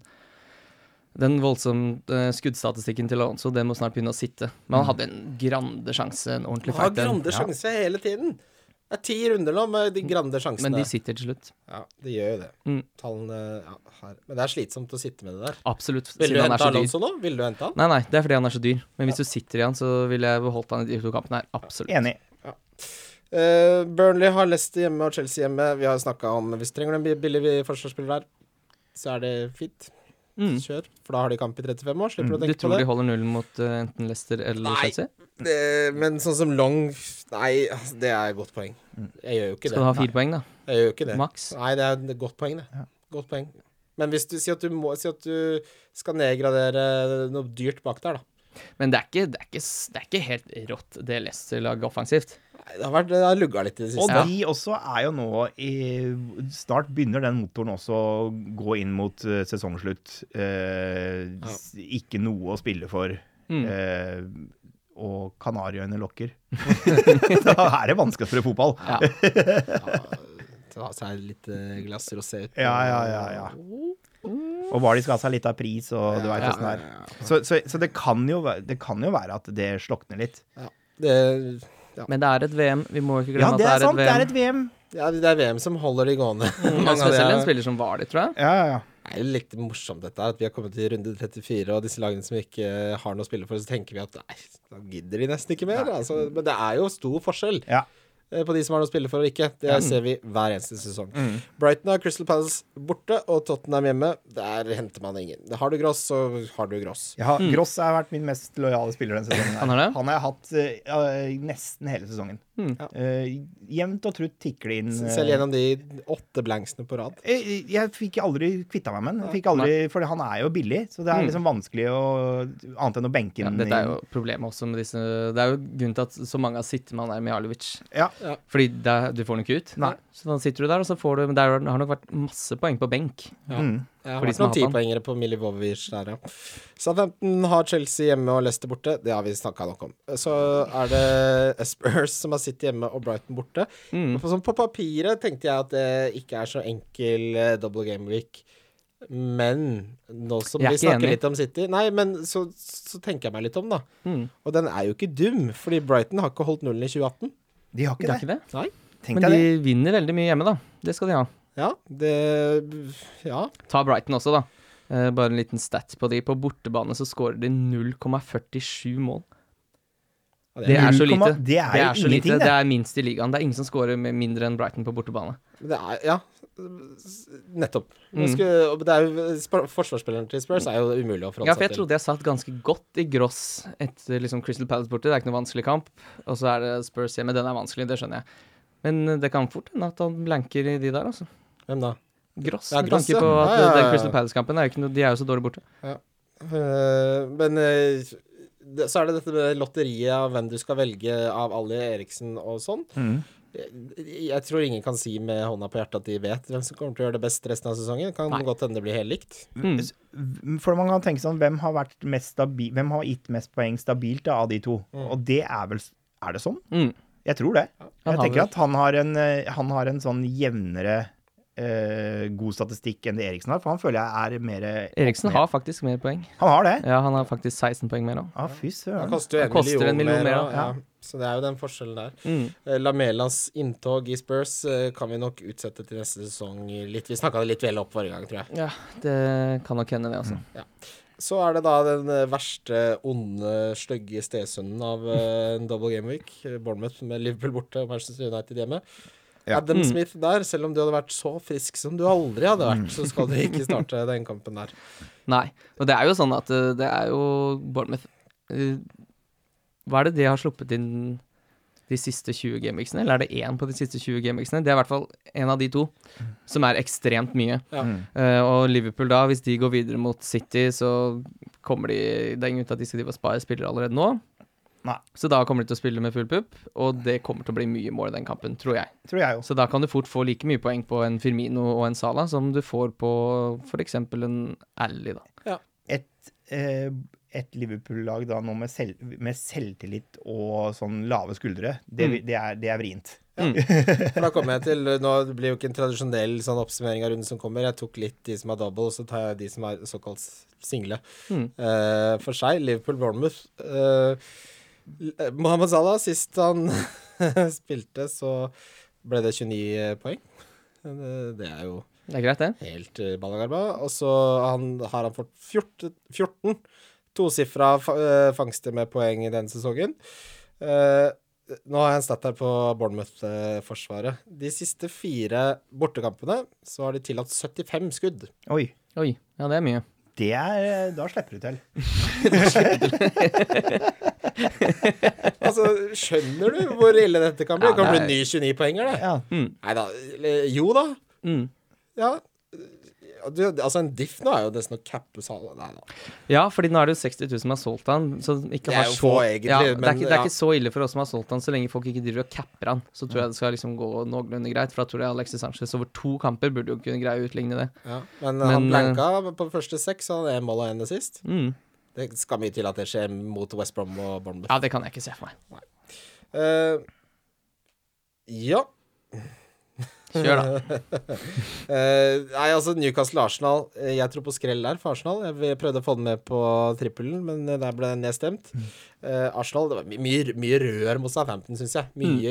S2: den voldsomme eh, skuddstatistikken til Alonso. Den må snart begynne å sitte. Men han hadde en grande sjanse, en ordentlig
S1: har
S2: fight. den.
S1: grande sjanse hele tiden. Det er ti runder nå med de grande sjansene.
S2: Mm. Men de sitter til slutt.
S1: Ja, det gjør jo det.
S2: Mm.
S1: Tallene ja, her. Men det er slitsomt å sitte med det der.
S2: Absolutt.
S1: Vil du
S2: siden han
S1: hente
S2: er så dyr.
S1: Alonso nå? Vil du hente han?
S2: Nei, nei, det er fordi han er så dyr. Men hvis du sitter i han, så ville jeg beholdt han i de to kampene her. Absolutt.
S3: Enig.
S1: Eh, Burnley har Leicester hjemme og Chelsea hjemme. Vi har snakka om hvis du trenger en bi- billig forsvarsspiller der, så er det fint.
S2: Mm.
S1: Kjør, for da har de kamp i 35 år. Slipper du å
S2: Du
S1: tenke på
S2: tror
S1: det.
S2: de holder nullen mot eh, enten Leicester eller
S1: Nei.
S2: Chelsea?
S1: Eh, Men sånn som Long Nei, altså, det er et godt poeng. Jeg gjør jo ikke
S2: Mm. Skal du ha
S1: det.
S2: fire poeng, da?
S1: Jeg gjør jo ikke det.
S2: Maks?
S1: Nei, det er et godt poeng, det. Godt poeng. Men hvis du sier at du, må, si at du skal nedgradere noe dyrt bak der, da.
S2: Men det er ikke, det er ikke, s- det er ikke helt rått, det Leicester-laget offensivt.
S1: Nei, det har, vært, det har lugga litt i det
S3: Og
S1: siste.
S2: Ja.
S3: de også er jo nå i, Snart begynner den motoren også å gå inn mot eh, sesongslutt. Eh, s- Ikke noe å spille for.
S2: Mm.
S3: Eh, og Kanariøyene lokker. da er det vanskelig å spille fotball.
S2: Ja.
S1: Ta seg litt eh, glass rosé ut.
S3: Ja, ja, ja, ja. Og hva de skal ha seg litt av pris, og du veit
S2: Ja.
S1: Sånn
S3: åssen det er. Så, så, så det, kan jo, væ- det kan jo være at det slokner litt.
S1: Det,
S2: Men det er et VM. Vi må ikke
S3: Ja,
S2: glemme
S3: det er
S2: at
S3: sant.
S2: det
S3: Det er
S2: er et VM.
S3: et VM.
S1: ja, det er VM som holder de gående.
S2: Ja,
S1: av de
S2: spesielt en
S1: er-
S2: spiller som var det, tror jeg.
S3: Ja, ja, ja.
S1: Det er jo litt morsomt dette her, at vi har kommet til runde 34, og disse lagene som ikke eh, har noe å spille for, så tenker vi at nei, da gidder de nesten ikke mer. Altså, men det er jo stor forskjell
S3: Ja.
S1: eh, på de som har noe å spille for og ikke. Det ser vi hver eneste sesong. Brighton har Crystal Palace borte, og Tottenham hjemme. Der henter man ingen. Har du gross, så har du gross.
S3: Jeg har, Gross har vært min mest lojale spiller denne sesongen. her.
S2: Hmm. Han har det? Hmm.
S3: har jeg hatt eh, eh, nesten hele sesongen. Eh, jevnt og trutt tikker det inn. eh,
S1: Selv gjennom de åtte blanksene på rad.
S3: jeg, jeg fikk aldri kvitta meg med den. Jeg fikk aldri, for han er jo billig, så det er liksom vanskelig å Annet enn å benke
S2: Hmm. Ja,
S3: den.
S2: dette er jo
S3: inn.
S2: problemet også med disse Det er jo grunnen til at så mange har sittet med han der Mihailovic.
S3: Ja.
S2: Fordi det, er- du får den ikke ut.
S3: Nei.
S2: Så da sitter du der, og så får du Men der har det har nok vært masse poeng på benk.
S3: Mm.
S1: Jeg har
S2: For de
S1: vært
S2: som
S1: noen
S2: har hatt
S1: tipoengere på Milivovic der, ja. Southampton har Chelsea hjemme og Leicester borte. Det har vi snakka nok om. Så er det Spurs som har City hjemme og Brighton borte.
S3: Mm.
S2: Mm.
S1: Og På, sånn, på papiret tenkte jeg at det ikke er så enkel eh, double game week. Men nå som
S2: Jeg er
S1: vi
S2: ikke
S1: snakker
S2: enig.
S1: litt om City Nei, men så, så tenker jeg meg litt om, da.
S2: Mm.
S1: Og den er jo ikke dum, fordi Brighton har ikke holdt nullen i 2018.
S3: De har
S2: Det
S3: ikke
S2: er
S3: det.
S2: ikke det?
S1: Nei.
S3: Tenk
S2: Men
S3: deg
S2: de
S3: det.
S2: vinner veldig mye hjemme, da. Det skal de ha.
S1: Ja, det Ja.
S2: Ta Brighton også, da. Eh, bare en liten stat på de. På bortebane så scorer de 0,47 mål.
S1: det er
S2: Det er så
S3: 0,-
S2: lite.
S3: det er jo
S2: så
S3: ingenting,
S2: lite.
S3: det.
S2: Det er minst i ligaen. Det er ingen som scorer med mindre enn Brighton på bortebane.
S1: Men Det er, ja, nettopp. Nå
S2: Mm.
S1: Skulle, og det er jo, sp- forsvarsspilleren til Spurs er jo umulig å
S2: Ja,
S1: forholde
S2: for jeg
S1: seg til.
S2: trodde jeg satt ganske godt i gross etter liksom Crystal Palace borte. Det er ikke noe vanskelig kamp. Og så er det Spurs hjemme. Den er vanskelig, det skjønner jeg. Men eh, det kan fort hende at han blanker i de der, altså.
S1: Hvem da?
S2: Gross,
S1: Ja,
S2: med
S1: Gross,
S2: tanke på
S1: ja.
S2: at
S1: Ja, ja,
S2: eh, den
S1: ja.
S2: Crystal Palace-kampen er jo ikke noe De er jo så dårlig borte.
S1: Eh, men eh, det, så er det dette med lotteriet av hvem du skal velge av Ali Eriksen og sånn.
S3: Mm.
S1: Jeg, jeg tror ingen kan si med hånda på hjertet at de vet hvem som kommer til å gjøre det best resten av sesongen. Kan
S2: Nei.
S1: godt hende det blir helt likt.
S3: For man kan tenke sånn, hvem har, vært mest stabi hvem har gitt mest poeng stabilt da, av de to? Og det er vel Er det sånn?
S2: Mm.
S3: Jeg tror det.
S2: Han
S3: Jeg
S2: har
S3: tenker
S2: vel-
S3: at han har en, eh, han har en sånn jevnere eh, god statistikk enn det Eriksen har, for han føler jeg er mer
S2: Eriksen har faktisk mer poeng.
S3: Han har det?
S2: Ja, han har faktisk 16 poeng mer nå.
S3: Ja, fy
S1: Det
S3: søren.
S1: koster jo en,
S2: koster en
S1: million, mer.
S2: million mer, Mm.
S1: og- ja. Så det er jo den forskjellen der. Eh, Lamelas inntog i Spurs eh, kan vi nok utsette til neste sesong. Litt, vi snakka det litt vel opp forrige gang, tror jeg.
S2: Ja, det kan nok hende, det, altså.
S1: Så er det da den eh, verste, onde, stygge stesønnen av eh, en double game week. Eh, Bournemouth med Liverpool borte og Manchester United hjemme.
S3: Ja.
S1: Adam Smith der, selv om du hadde vært så frisk som du aldri hadde vært, så skal du ikke starte den kampen der.
S2: Nei. Og det er jo sånn at eh, det er jo Bournemouth eh, Hva er det de har sluppet inn de siste 20 gameweeksene? Eller er det én på de siste 20 gameweeksene? Det er i hvert fall en av de to, som er ekstremt mye.
S1: Ja.
S2: Eh, og Liverpool da, hvis de går videre mot City, så kommer de Det er ingen grunn til at de skal drive og spare spillere allerede nå.
S3: Nei.
S2: Så da kommer de til å spille med full pupp, og det kommer til å bli mye mål i den kampen, tror jeg.
S3: Tror jeg jo.
S2: Så da kan du fort få like mye poeng på en Firmino og en Sala som du får på f.eks. en Ally, da.
S3: Et, eh, et Liverpool-lag da nå med, selv, med selvtillit og sånn lave skuldre, det,
S2: Mm.
S3: det, er, det er vrient.
S1: For da kommer jeg til Nå blir jo ikke en tradisjonell sånn oppsummering av runden som kommer. Jeg tok litt de som er double, så tar jeg de som er såkalt single.
S2: Mm.
S1: Eh, for seg, Liverpool-Bournemouth. Eh, L- Mohammed Salah, sist han spilte, så ble det 29 poeng. Eh, Det, det er jo
S2: Det er greit, det.
S1: helt eh, balagarba. Og så han, har han fått 14, 14 tosifra fa- eh, fangster med poeng i denne sesongen. Eh, nå har jeg en stat her på Bournemouth-forsvaret. De siste fire bortekampene så har de tillatt 75 skudd.
S3: Oi.
S2: Oi, ja, det er mye.
S3: Det er, da slipper du til.
S1: Altså, skjønner du hvor ille dette kan bli?
S2: Ja,
S1: Det kan
S2: det
S1: bli
S2: er-
S1: ny 29-poenger, det.
S3: Ja.
S1: Nei da. Jo da.
S2: Mm.
S1: Ja. Du, altså, en diff nå er jo nesten å cappe salen. Nei da.
S2: Ja, fordi nå er det jo 60 000 som har solgt han. Så den ikke
S1: Det er
S2: har
S1: jo
S2: så,
S1: få egentlig,
S2: ja, det, er
S1: men
S2: ikke, det er
S1: ja.
S2: ikke så ille for oss som har solgt han, så lenge folk ikke driver og capper han. Så
S1: Mm.
S2: tror jeg det skal liksom gå noenlunde greit, for da tror jeg Alexis Sanchez over to kamper burde jo kunne greie å utligne det.
S1: Ja. Men, eh,
S2: Men,
S1: han blanka på første seks, og han er mål og ene sist.
S2: Mm.
S1: Det skal mye til at det skjer mot West Brom og Bournemouth.
S2: Ja, det kan jeg ikke se for meg.
S1: Eh, ja.
S2: Kjør, da.
S1: Eh, nei, altså Newcastle-Arsenal. Eh, Jeg tror på skrell der for Arsenal. Jeg vi prøvde å få den med på trippelen, men eh, der ble den nedstemt.
S2: Mm.
S1: Eh, Arsenal det var my- mye, mye rør mot Southampton, syns
S2: Mm.
S1: jeg. Mye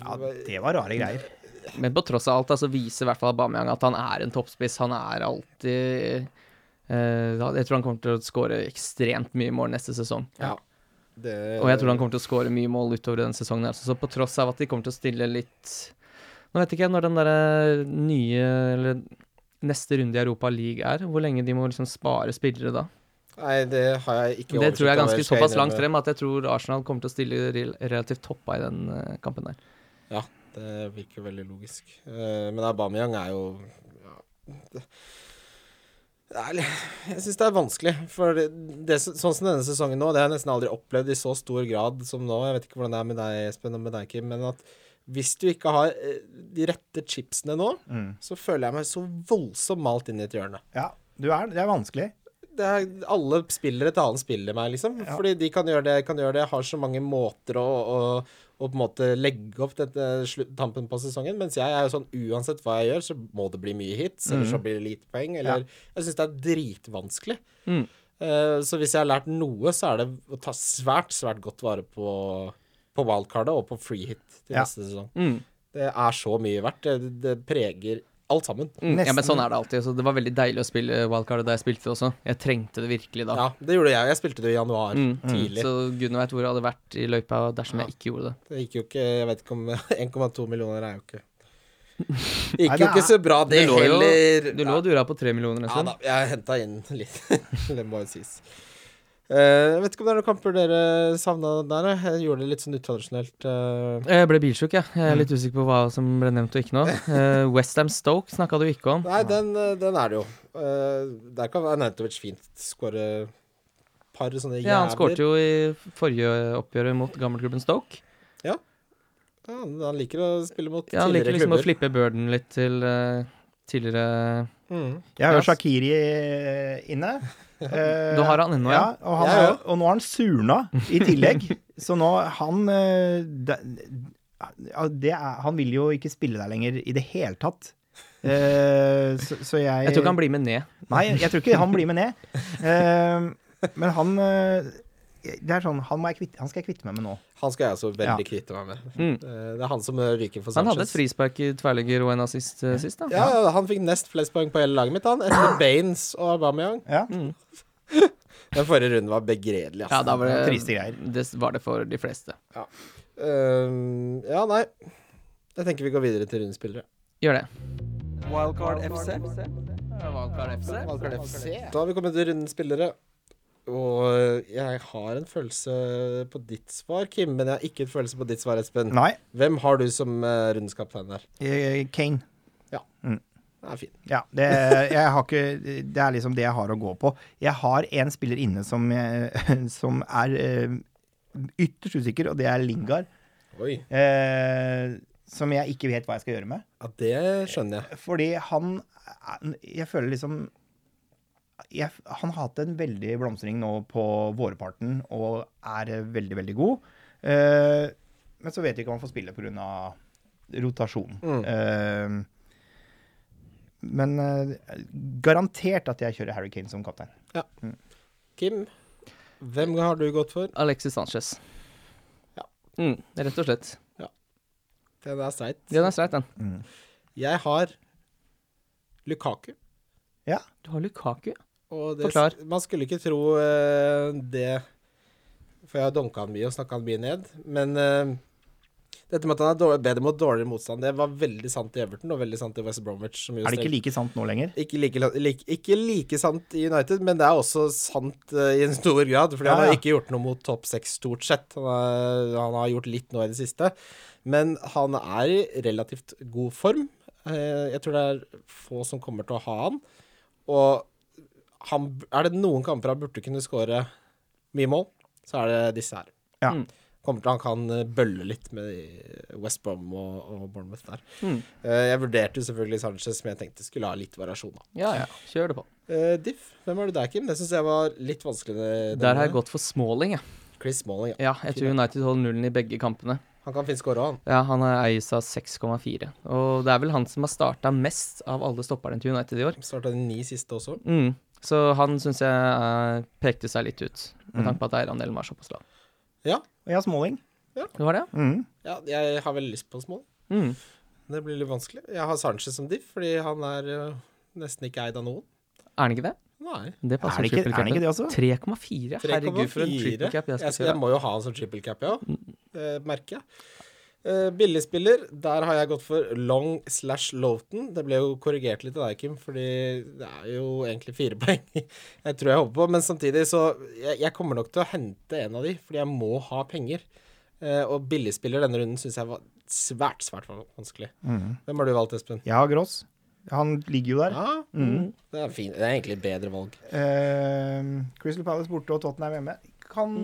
S3: ja, det var rare greier.
S2: Men på tross av alt, altså, viser i hvert fall Aubameyang at han er en toppspiss. Han er alltid eh, Jeg tror han kommer til å skåre ekstremt mye mål neste sesong.
S1: Ja. Det-
S2: Og jeg tror han kommer til å skåre mye mål utover denne sesongen. her, så- Så på tross av at de kommer til å stille litt Nå vet ikke jeg når den derre nye Eller neste runde i Europa League er. Hvor lenge de må liksom spare spillere da.
S1: Nei, det har jeg ikke
S2: Det tror
S1: oversikt over,
S2: jeg er ganske
S1: skal
S2: såpass
S1: innrømme.
S2: langt frem at jeg tror Arsenal kommer til å stille rel- relativt toppa i den eh, kampen der.
S1: Ja, det virker veldig logisk. Eh, men Aubameyang er jo ja, det, det er, litt- Jeg syns det er vanskelig. For det, det, som- sånn som denne sesongen nå, det har jeg nesten aldri opplevd i så stor grad som nå. Jeg vet ikke hvordan det er med deg, Espen, og med deg, Kim, men at hvis du ikke har eh, de rette chipsene nå,
S3: Mm.
S1: så føler jeg meg så voldsomt malt inn i et hjørne.
S3: Ja, du er, det er vanskelig.
S1: Det er alle spillere til annen spiller meg, liksom.
S3: Ja.
S1: Fordi de kan gjøre det, kan gjøre det. Har så mange måter å, å, å på en måte legge opp dette slutt, tampen på sesongen. Mens jeg er jo sånn uansett hva jeg gjør, så må det bli mye hits, eller så blir det lite poeng. Eller Jeg syns det er dritvanskelig.
S2: Mm.
S1: Eh, så hvis jeg har lært noe, så er det å ta svært, svært godt vare på, på wildcardet og på free hit til
S3: Ja.
S1: neste sesong.
S2: Mm.
S1: Det er så mye verdt. Det, det preger alt sammen.
S2: Mm. Ja, men
S3: Nesten.
S2: sånn er det alltid. Så det var veldig deilig å spille wildcardet da jeg spilte også. Jeg trengte det virkelig da.
S1: Ja, det gjorde jeg. Jeg spilte det i januar,
S2: Mm.
S1: tidlig.
S2: Så gudene veit hvor jeg hadde vært i løypa dersom jeg ikke gjorde det.
S1: Det gikk jo ikke Jeg vet ikke om 1,2 millioner er jo ikke
S3: Nei,
S1: Det gikk
S3: det
S1: jo ikke
S3: er-
S1: så bra, det
S2: Du lå jo
S1: heller.
S2: du lå sånn. og dura på tre millioner en
S1: Ja
S2: stund.
S1: da, jeg henta inn litt. det må jo sies. Eh, jeg vet ikke om det er noen kamper dere savna der. eh? Jeg gjorde det litt sånn utradisjonelt. eh.
S2: Jeg ble bilsjuk, jeg. Jeg er
S1: Mm.
S2: litt usikker på hva som ble nevnt og ikke nå. Eh, Westham Stoke snakka du ikke om.
S1: Nei, den, eh, den er det jo. Eh, der kan Anantovic fint skåre par sånne jævler.
S2: Ja, han skårte jo i forrige oppgjøret mot gammelklubben Stoke.
S1: Ja, han- han liker å spille mot
S2: Ja, han liker
S1: tidligere
S2: liksom å
S1: klubber.
S2: flippe burden litt til eh, tidligere
S1: Mm.
S3: Jeg har jo
S2: Yes.
S3: Shakiri inne. Eh,
S2: Du har han inne, ja.
S3: og, han
S1: Jeg
S3: er, og nå har han surna i tillegg. så nå han eh, det- ja, det er, Han vil jo ikke spille der lenger i det hele tatt. Eh, så, så jeg
S2: Jeg tror ikke han blir med ned.
S3: Nei, jeg tror ikke han blir med ned. Eh, men han eh, Det er sånn, han, må jeg kvitte, han skal jeg kvitte meg med nå.
S1: Han skal jeg også
S3: Ja.
S1: veldig kvitte meg med.
S2: Mm.
S1: Eh, det er han som eh, ryker for Sanchez.
S2: Han hadde et frispark i tverrligger og en assist eh, sist, da.
S1: Ja, ja, han fikk nest flest poeng på hele laget mitt, han. Etter Baines og Aubameyang.
S3: Ja,
S2: Mm.
S1: Den forrige runden var begredelig, altså.
S2: Ja, da var det,
S3: Triste greier.
S2: det var det for de fleste.
S1: Ehm, ja, nei. Jeg tenker vi går videre til rundspillere.
S2: Gjør det.
S4: Wildcard FC.
S1: Da har vi kommet til rundspillere. Og jeg har en følelse på ditt svar, Kim, men jeg har ikke en følelse på ditt svar, Espen.
S3: Nei,
S1: Hvem har du som uh, rundskaptein der?
S3: eh, Kane.
S1: Den er fin.
S3: Ja, det, jeg har ikke, det er liksom det jeg har å gå på. Jeg har en spiller inne som, eh, som er eh, ytterst usikker, og det er Lingard.
S1: Oi.
S3: Eh, som jeg ikke vet hva jeg skal gjøre med.
S1: Ja, det skjønner jeg.
S3: Fordi han er- Jeg føler liksom jeg, Han har hatt en veldig blomstring nå på vårparten og er veldig, veldig god. Eh, men så vet vi ikke om han får spille pga. rotasjon. Eh, men eh, garantert at jeg kjører Harry Kane som kaptein.
S1: Kim, hvem har du gått for?
S2: Alexis Sanchez.
S1: Ja.
S2: Mm, rett og slett.
S1: Den er streit.
S2: Den er streit, den.
S1: Jeg har Lukaku.
S2: Du har Lukaku.
S1: Og det,
S2: Forklar.
S1: Man skulle ikke tro eh, det For jeg har dunka han mye og snakka han mye ned. Men eh, dette med at han er dårlig, bedre mot dårligere motstand, det var veldig sant i Everton og veldig sant i West Bromwich. Som jo
S3: Er det ikke
S1: stelt-
S3: like sant nå lenger?
S1: ikke like, like, ikke like sant i United, men det er også sant eh, i en stor grad. Fordi
S3: Ja,
S1: han har
S3: ja.
S1: ikke gjort noe mot topp seks, stort sett. Han, er, han har gjort litt nå i det siste. Men han er i relativt god form. Eh, Jeg tror det er få som kommer til å ha han. Og han, er det noen kamper han burde kunne skåre mye mål, så er det disse her.
S3: Ja.
S2: Mm.
S1: Kommer til han kan eh, bølle litt med de West Brom og, og Bournemouth der.
S2: Mm.
S1: Eh, Jeg vurderte jo selvfølgelig Sanchez, men jeg tenkte skulle ha litt variasjon. da.
S2: Ja, ja. Kjør det på.
S1: Eh, Diff, hvem var det der, Kim? Det syns jeg var litt vanskelig. det-
S2: Der har
S1: denne.
S2: jeg gått for Smalling, jeg.
S1: Chris Smalling, ja.
S2: Ja, jeg tror United holder nullen i begge kampene.
S1: Han kan finne score òg, han.
S2: Ja, han er eies av 6,4. Og det er vel han som har starta mest av alle stopperne til United i år.
S1: Starta de ni siste også.
S2: Mm. Så han syns jeg eh, pekte seg litt ut, med tanke på at eierandelen var såpass lav.
S3: Og jeg har Smalling.
S2: Det var det, ja.
S3: Mm.
S1: Ja, jeg har veldig lyst på Smalling.
S2: Mm.
S1: Det blir litt vanskelig. Jeg har Sanchez som diff, fordi han er eh, nesten ikke eid av noen.
S2: Er han ikke det?
S1: Nei.
S2: Det
S3: Er
S2: passer
S3: det ikke,
S2: triple
S3: er det, ikke
S2: capen.
S3: det også?
S2: 3,4. Herregud, for en
S1: 3,4.
S2: triple cap jeg
S1: Jeg,
S2: skal
S1: skal- jeg
S2: kjøre.
S1: må jo ha han som triple cap, ja. Det merker jeg. Eh, Billigspiller, der har jeg gått for long slash Loughton. Det ble jo korrigert litt av deg, Kim, fordi det er jo egentlig fire poeng jeg tror jeg håper på. Men samtidig så jeg, jeg kommer nok til å hente en av de, fordi jeg må ha penger. Eh, og billigspiller denne runden syns jeg var svært, svært vanskelig. Hvem har du valgt, Espen?
S3: Jeg har Gross. Han ligger jo der.
S1: Ja, det, er fin. det er egentlig et bedre valg.
S3: Eh, Crystal Palace borte og Tottenham hjemme. Kan,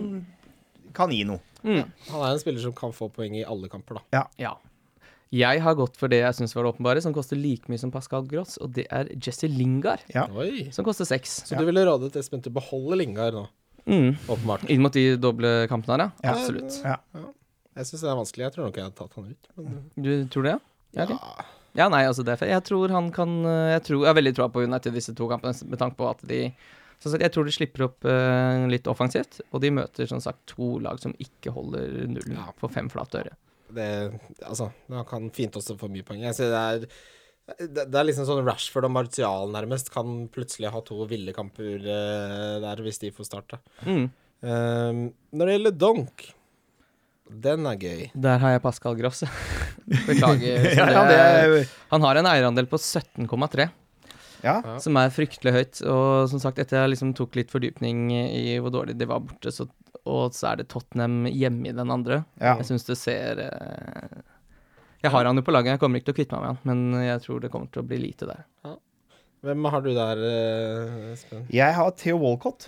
S3: kan gi noe.
S1: Han er en spiller som kan få poeng i alle kamper, da.
S2: Ja. Jeg har gått for det jeg syns var det åpenbare, som koster like mye som Pascal Gross, og det er Jesse Lingard,
S3: Ja.
S1: Oi.
S2: som koster seks.
S1: Så du ville rådet Espen til å beholde Lingard nå,
S2: Mm.
S1: åpenbart?
S2: Inn mot de doble kampene her, ja.
S3: Ja.
S2: Absolutt.
S3: Ja.
S1: Jeg syns det er vanskelig. Jeg tror nok jeg hadde tatt han ut. Men,
S2: Du tror det, ja? Ja, ok. ja, nei, altså det er fair. Jeg tror han kan eh, Jeg, tror, jeg har veldig troa på United disse to kampene, s- med tanke på at de som sagt, Jeg tror de slipper opp eh, litt offensivt, og de møter som sagt to lag som ikke holder nullen
S1: Ja.
S2: for fem flate øre.
S1: det, altså, han kan fint også få mye poeng. Jeg ser det er det, det er liksom sånn Rashford og Martial nærmest kan plutselig ha to ville kamper eh, der hvis de får starte.
S2: Mm.
S1: Ehm, når det gjelder Donk, den er gøy.
S2: Der har jeg Pascal Gross. Beklager. så
S3: Ja,
S2: det
S3: det
S2: er-
S3: er,
S2: Han har en eierandel på 17,3.
S3: ja.
S1: Ja.
S2: som er fryktelig høyt. Og som sagt, etter jeg liksom tok litt fordypning i hvor dårlig de var borte, så, og så er det Tottenham hjemme i den andre.
S3: Ja.
S2: Jeg syns det ser eh, Jeg har han jo på laget, jeg kommer ikke til å kvitte meg med han, men jeg tror det kommer til å bli lite der.
S1: Hvem har du der, eh, Espen?
S3: Jeg har Theo Walcott.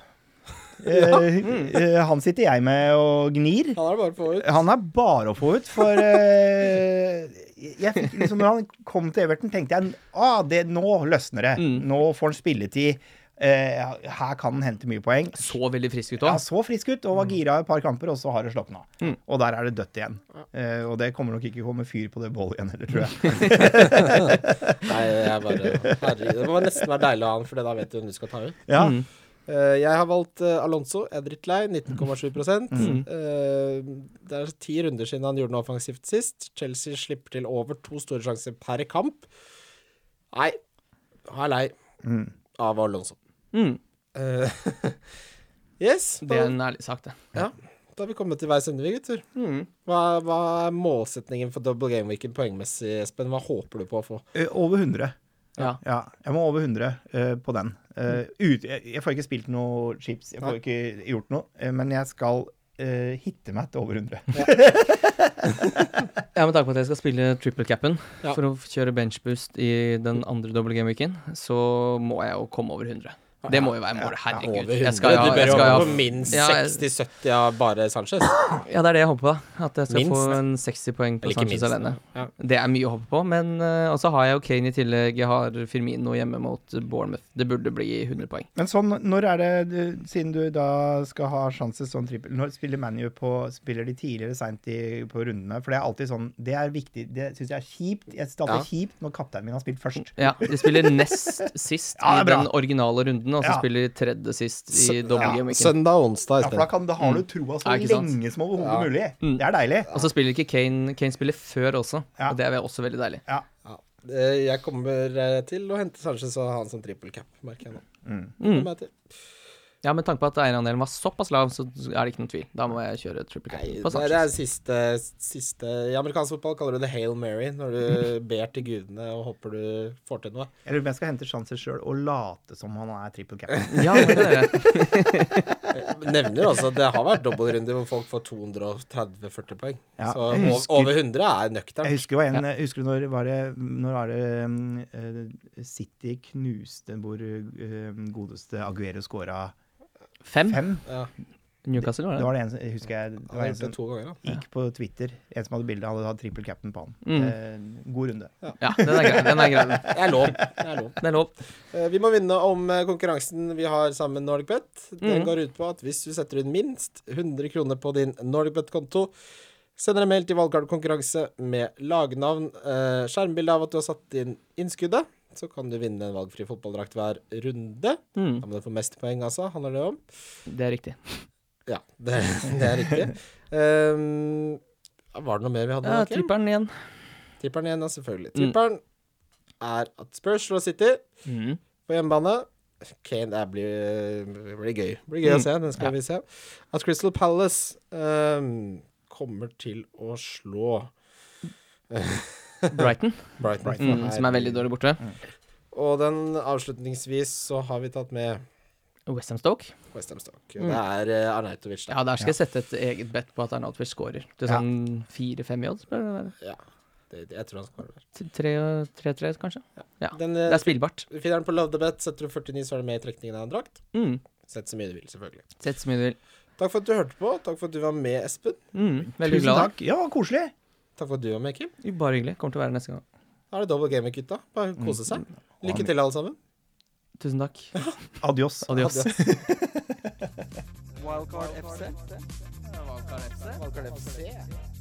S3: Eh, eh, han sitter jeg med og gnir.
S1: Han er det bare på ut.
S3: Han er bare å få ut, for eh, jeg fikk liksom, Når han kom til Everton, tenkte jeg ah, det, nå løsner det. Nå får han spilletid. Eh, her kan han hente mye poeng.
S2: Så veldig frisk ut
S3: Ja,
S2: òg.
S3: så frisk ut og var gira i et par kamper, og så har det slått av. Og der er det dødt igjen. Eh, og det kommer nok ikke komme fyr på det bålet igjen heller, tror jeg.
S1: Nei, jeg bare Herregud. Det må nesten være deilig å ha han, for da vet du hvem du skal ta ut.
S3: Ja.
S1: Eh, jeg har valgt eh, Alonso. Jeg er drittlei. 19,7
S3: Mm.
S1: Eh, Det er ti runder siden han gjorde noe offensivt sist. Chelsea slipper til over to store sjanser per kamp. Nei, han er lei av Alonso.
S2: Mm.
S1: Eh, yes, da,
S2: Det er en ærlig sak, det.
S1: ja, da er vi kommet til veis ende, vi, gutter.
S2: Mm.
S1: Hva, hva er målsetningen for double game weekend poengmessig, Espen? Hva håper du på å få?
S3: Eh, Over 100.
S2: Ja.
S3: Ja, jeg må over 100 eh, på den. Eh, ut, jeg, jeg får ikke spilt noe chips, jeg får
S1: Nei.
S3: ikke gjort noe, eh, men jeg skal eh, hitte meg til over 100.
S2: Ja, Med tanke på at jeg skal spille triple capen
S1: Ja.
S2: for å kjøre benchboost i den andre double game-weeken, så må jeg jo komme over 100. Det må jo være målet. Herregud.
S1: Over 100.
S2: Jeg skal,
S1: du
S2: ha-
S1: bør
S2: jeg
S1: jo
S2: skal,
S1: ha
S2: ha-
S1: på minst
S2: Ja, jeg-
S1: 60-70 av bare Sanchez.
S2: Ja, det er det jeg håper på. da. At jeg skal
S1: Minst.
S2: få en 60 poeng på
S1: Eller ikke
S2: Sanchez
S1: minst,
S2: alene.
S1: ja.
S2: Det er mye å håpe på. Men eh, Og så har jeg jo Kane i tillegg. Jeg har Firmino hjemme mot Bournemouth. Det burde bli 100 poeng.
S3: Men sånn, når er det du, Siden du da skal ha sjanse sånn trippel Når spiller ManU på Spiller de tidligere seint på rundene? For det er alltid sånn Det er viktig. Det syns jeg er kjipt. Jeg synes det er alltid kjipt når kapteinen min har spilt først.
S2: Ja, De spiller nest sist
S3: Ja,
S2: i
S3: det er bra.
S2: den originale runden, og så
S3: Ja.
S2: spiller de tredje sist i
S1: Sø-
S2: double
S1: ja,
S2: game weekend.
S1: Søndag og onsdag
S3: Ja, Mm. for da,
S1: isteden.
S3: kan, da har du trua så
S2: Ja, ikke sant?
S3: lenge som overhodet
S1: Ja.
S3: mulig.
S2: Mm.
S3: Det er deilig.
S2: Og så spiller ikke Kane. Kane spiller før også,
S3: Ja.
S2: og det er også veldig deilig.
S3: Ja.
S1: Ja. Eh, Jeg kommer eh, til å hente Sanchez og ha han som trippel cap, merker jeg nå.
S2: Mm.
S1: Kommer jeg til.
S2: Ja, Med tanke på at eierandelen var såpass lav, så er det ikke noen tvil. Da må jeg kjøre triple
S1: Nei,
S2: cap på
S1: det er
S2: Sanchez.
S1: siste, siste I amerikansk fotball kaller du det Hail Mary,
S3: Mm.
S1: når du ber til gudene og håper du får til noe.
S3: Jeg lurer på om jeg skal hente sjanser sjøl og late som han er trippel cap'n.
S2: Ja, det er det.
S1: Nevner også at det har vært dobbeltrunder hvor folk får 230-40 poeng.
S3: Ja,
S1: Så
S3: jeg
S1: ov-
S3: husker-
S1: over 100 er
S3: Jeg
S1: nøkternt.
S3: husker, det var en, jeg husker når var det, når var det um, eh, City knuste hvor um, godeste Aguero scora
S2: Fem?
S3: fem.
S1: Ja,
S2: Newcastle, var
S3: Det
S2: det?
S3: var det en som jeg husker jeg, det
S1: han har
S3: var en
S1: gjort det
S3: som
S1: to ganger, da.
S3: gikk på Twitter. En som hadde bilde, han hadde hatt trippel cap'n på han.
S2: Mm.
S3: Eh, god runde.
S2: Ja, den er grei. Den er grei. den.
S1: Det er lov. Det er lov.
S2: Den er lov.
S1: Eh, Vi må vinne om eh, konkurransen vi har sammen med NordicBet. Den går ut på at hvis du setter inn minst 100 kroner på din NordicBet-konto, sender en mail til valgkartkonkurranse med lagnavn, eh, skjermbilde av at du har satt inn innskuddet, så kan du vinne en valgfri fotballdrakt hver runde.
S2: Mm.
S1: Da må du få mest poeng, altså, handler det om.
S2: Det er riktig.
S1: Ja, det, det er riktig. Ehm, var det noe mer vi hadde?
S2: Ja,
S1: Joakim?
S2: tripperen igjen.
S1: Tripperen igjen, da, selvfølgelig. Tripperen er at Spurs slår City
S2: Mm.
S1: på hjemmebane. Kane, det blir, det blir gøy. Det blir gøy
S2: Mm.
S1: å se. Den skal vi se. At Crystal Palace ehm, kommer til å slå eh,
S2: Brighton,
S1: Brighton,
S2: mm, som er veldig dårlig borte.
S1: Og den avslutningsvis så har vi tatt med
S2: Westham Stoke.
S1: Westham Stock. Det er eh, Arnautovic, da.
S2: Mm. Ja, der skal jeg sette et eget bet på at Arnautovic scorer. Til sånn fire-fem i odds. bør det være.
S1: Ja. Det, det, jeg tror han skårer der.
S2: T- tre- Tre-tre, kanskje. Ja.
S1: Den,
S2: Det
S1: eh,
S2: er spillbart.
S1: finner den på Love the Bet. Setter du 49, så er det med i trekningen av en drakt.
S2: Mm.
S1: Sett så mye du vil, selvfølgelig.
S2: Sett så mye du vil.
S1: Takk for at du hørte på. Takk for at du var med, Espen.
S2: Mm. Veldig
S3: Tusen
S2: glad.
S3: takk. Ja, koselig.
S1: Takk for at du var med, Kim.
S2: Bare hyggelig. Kommer til å være neste gang.
S1: Da er det double gamer, gutta. Bare kose seg. Lykke til, alle sammen.
S2: Tusen takk.
S3: Adios.
S2: Adios.
S4: Wildcard FC.
S1: Wildcard FC.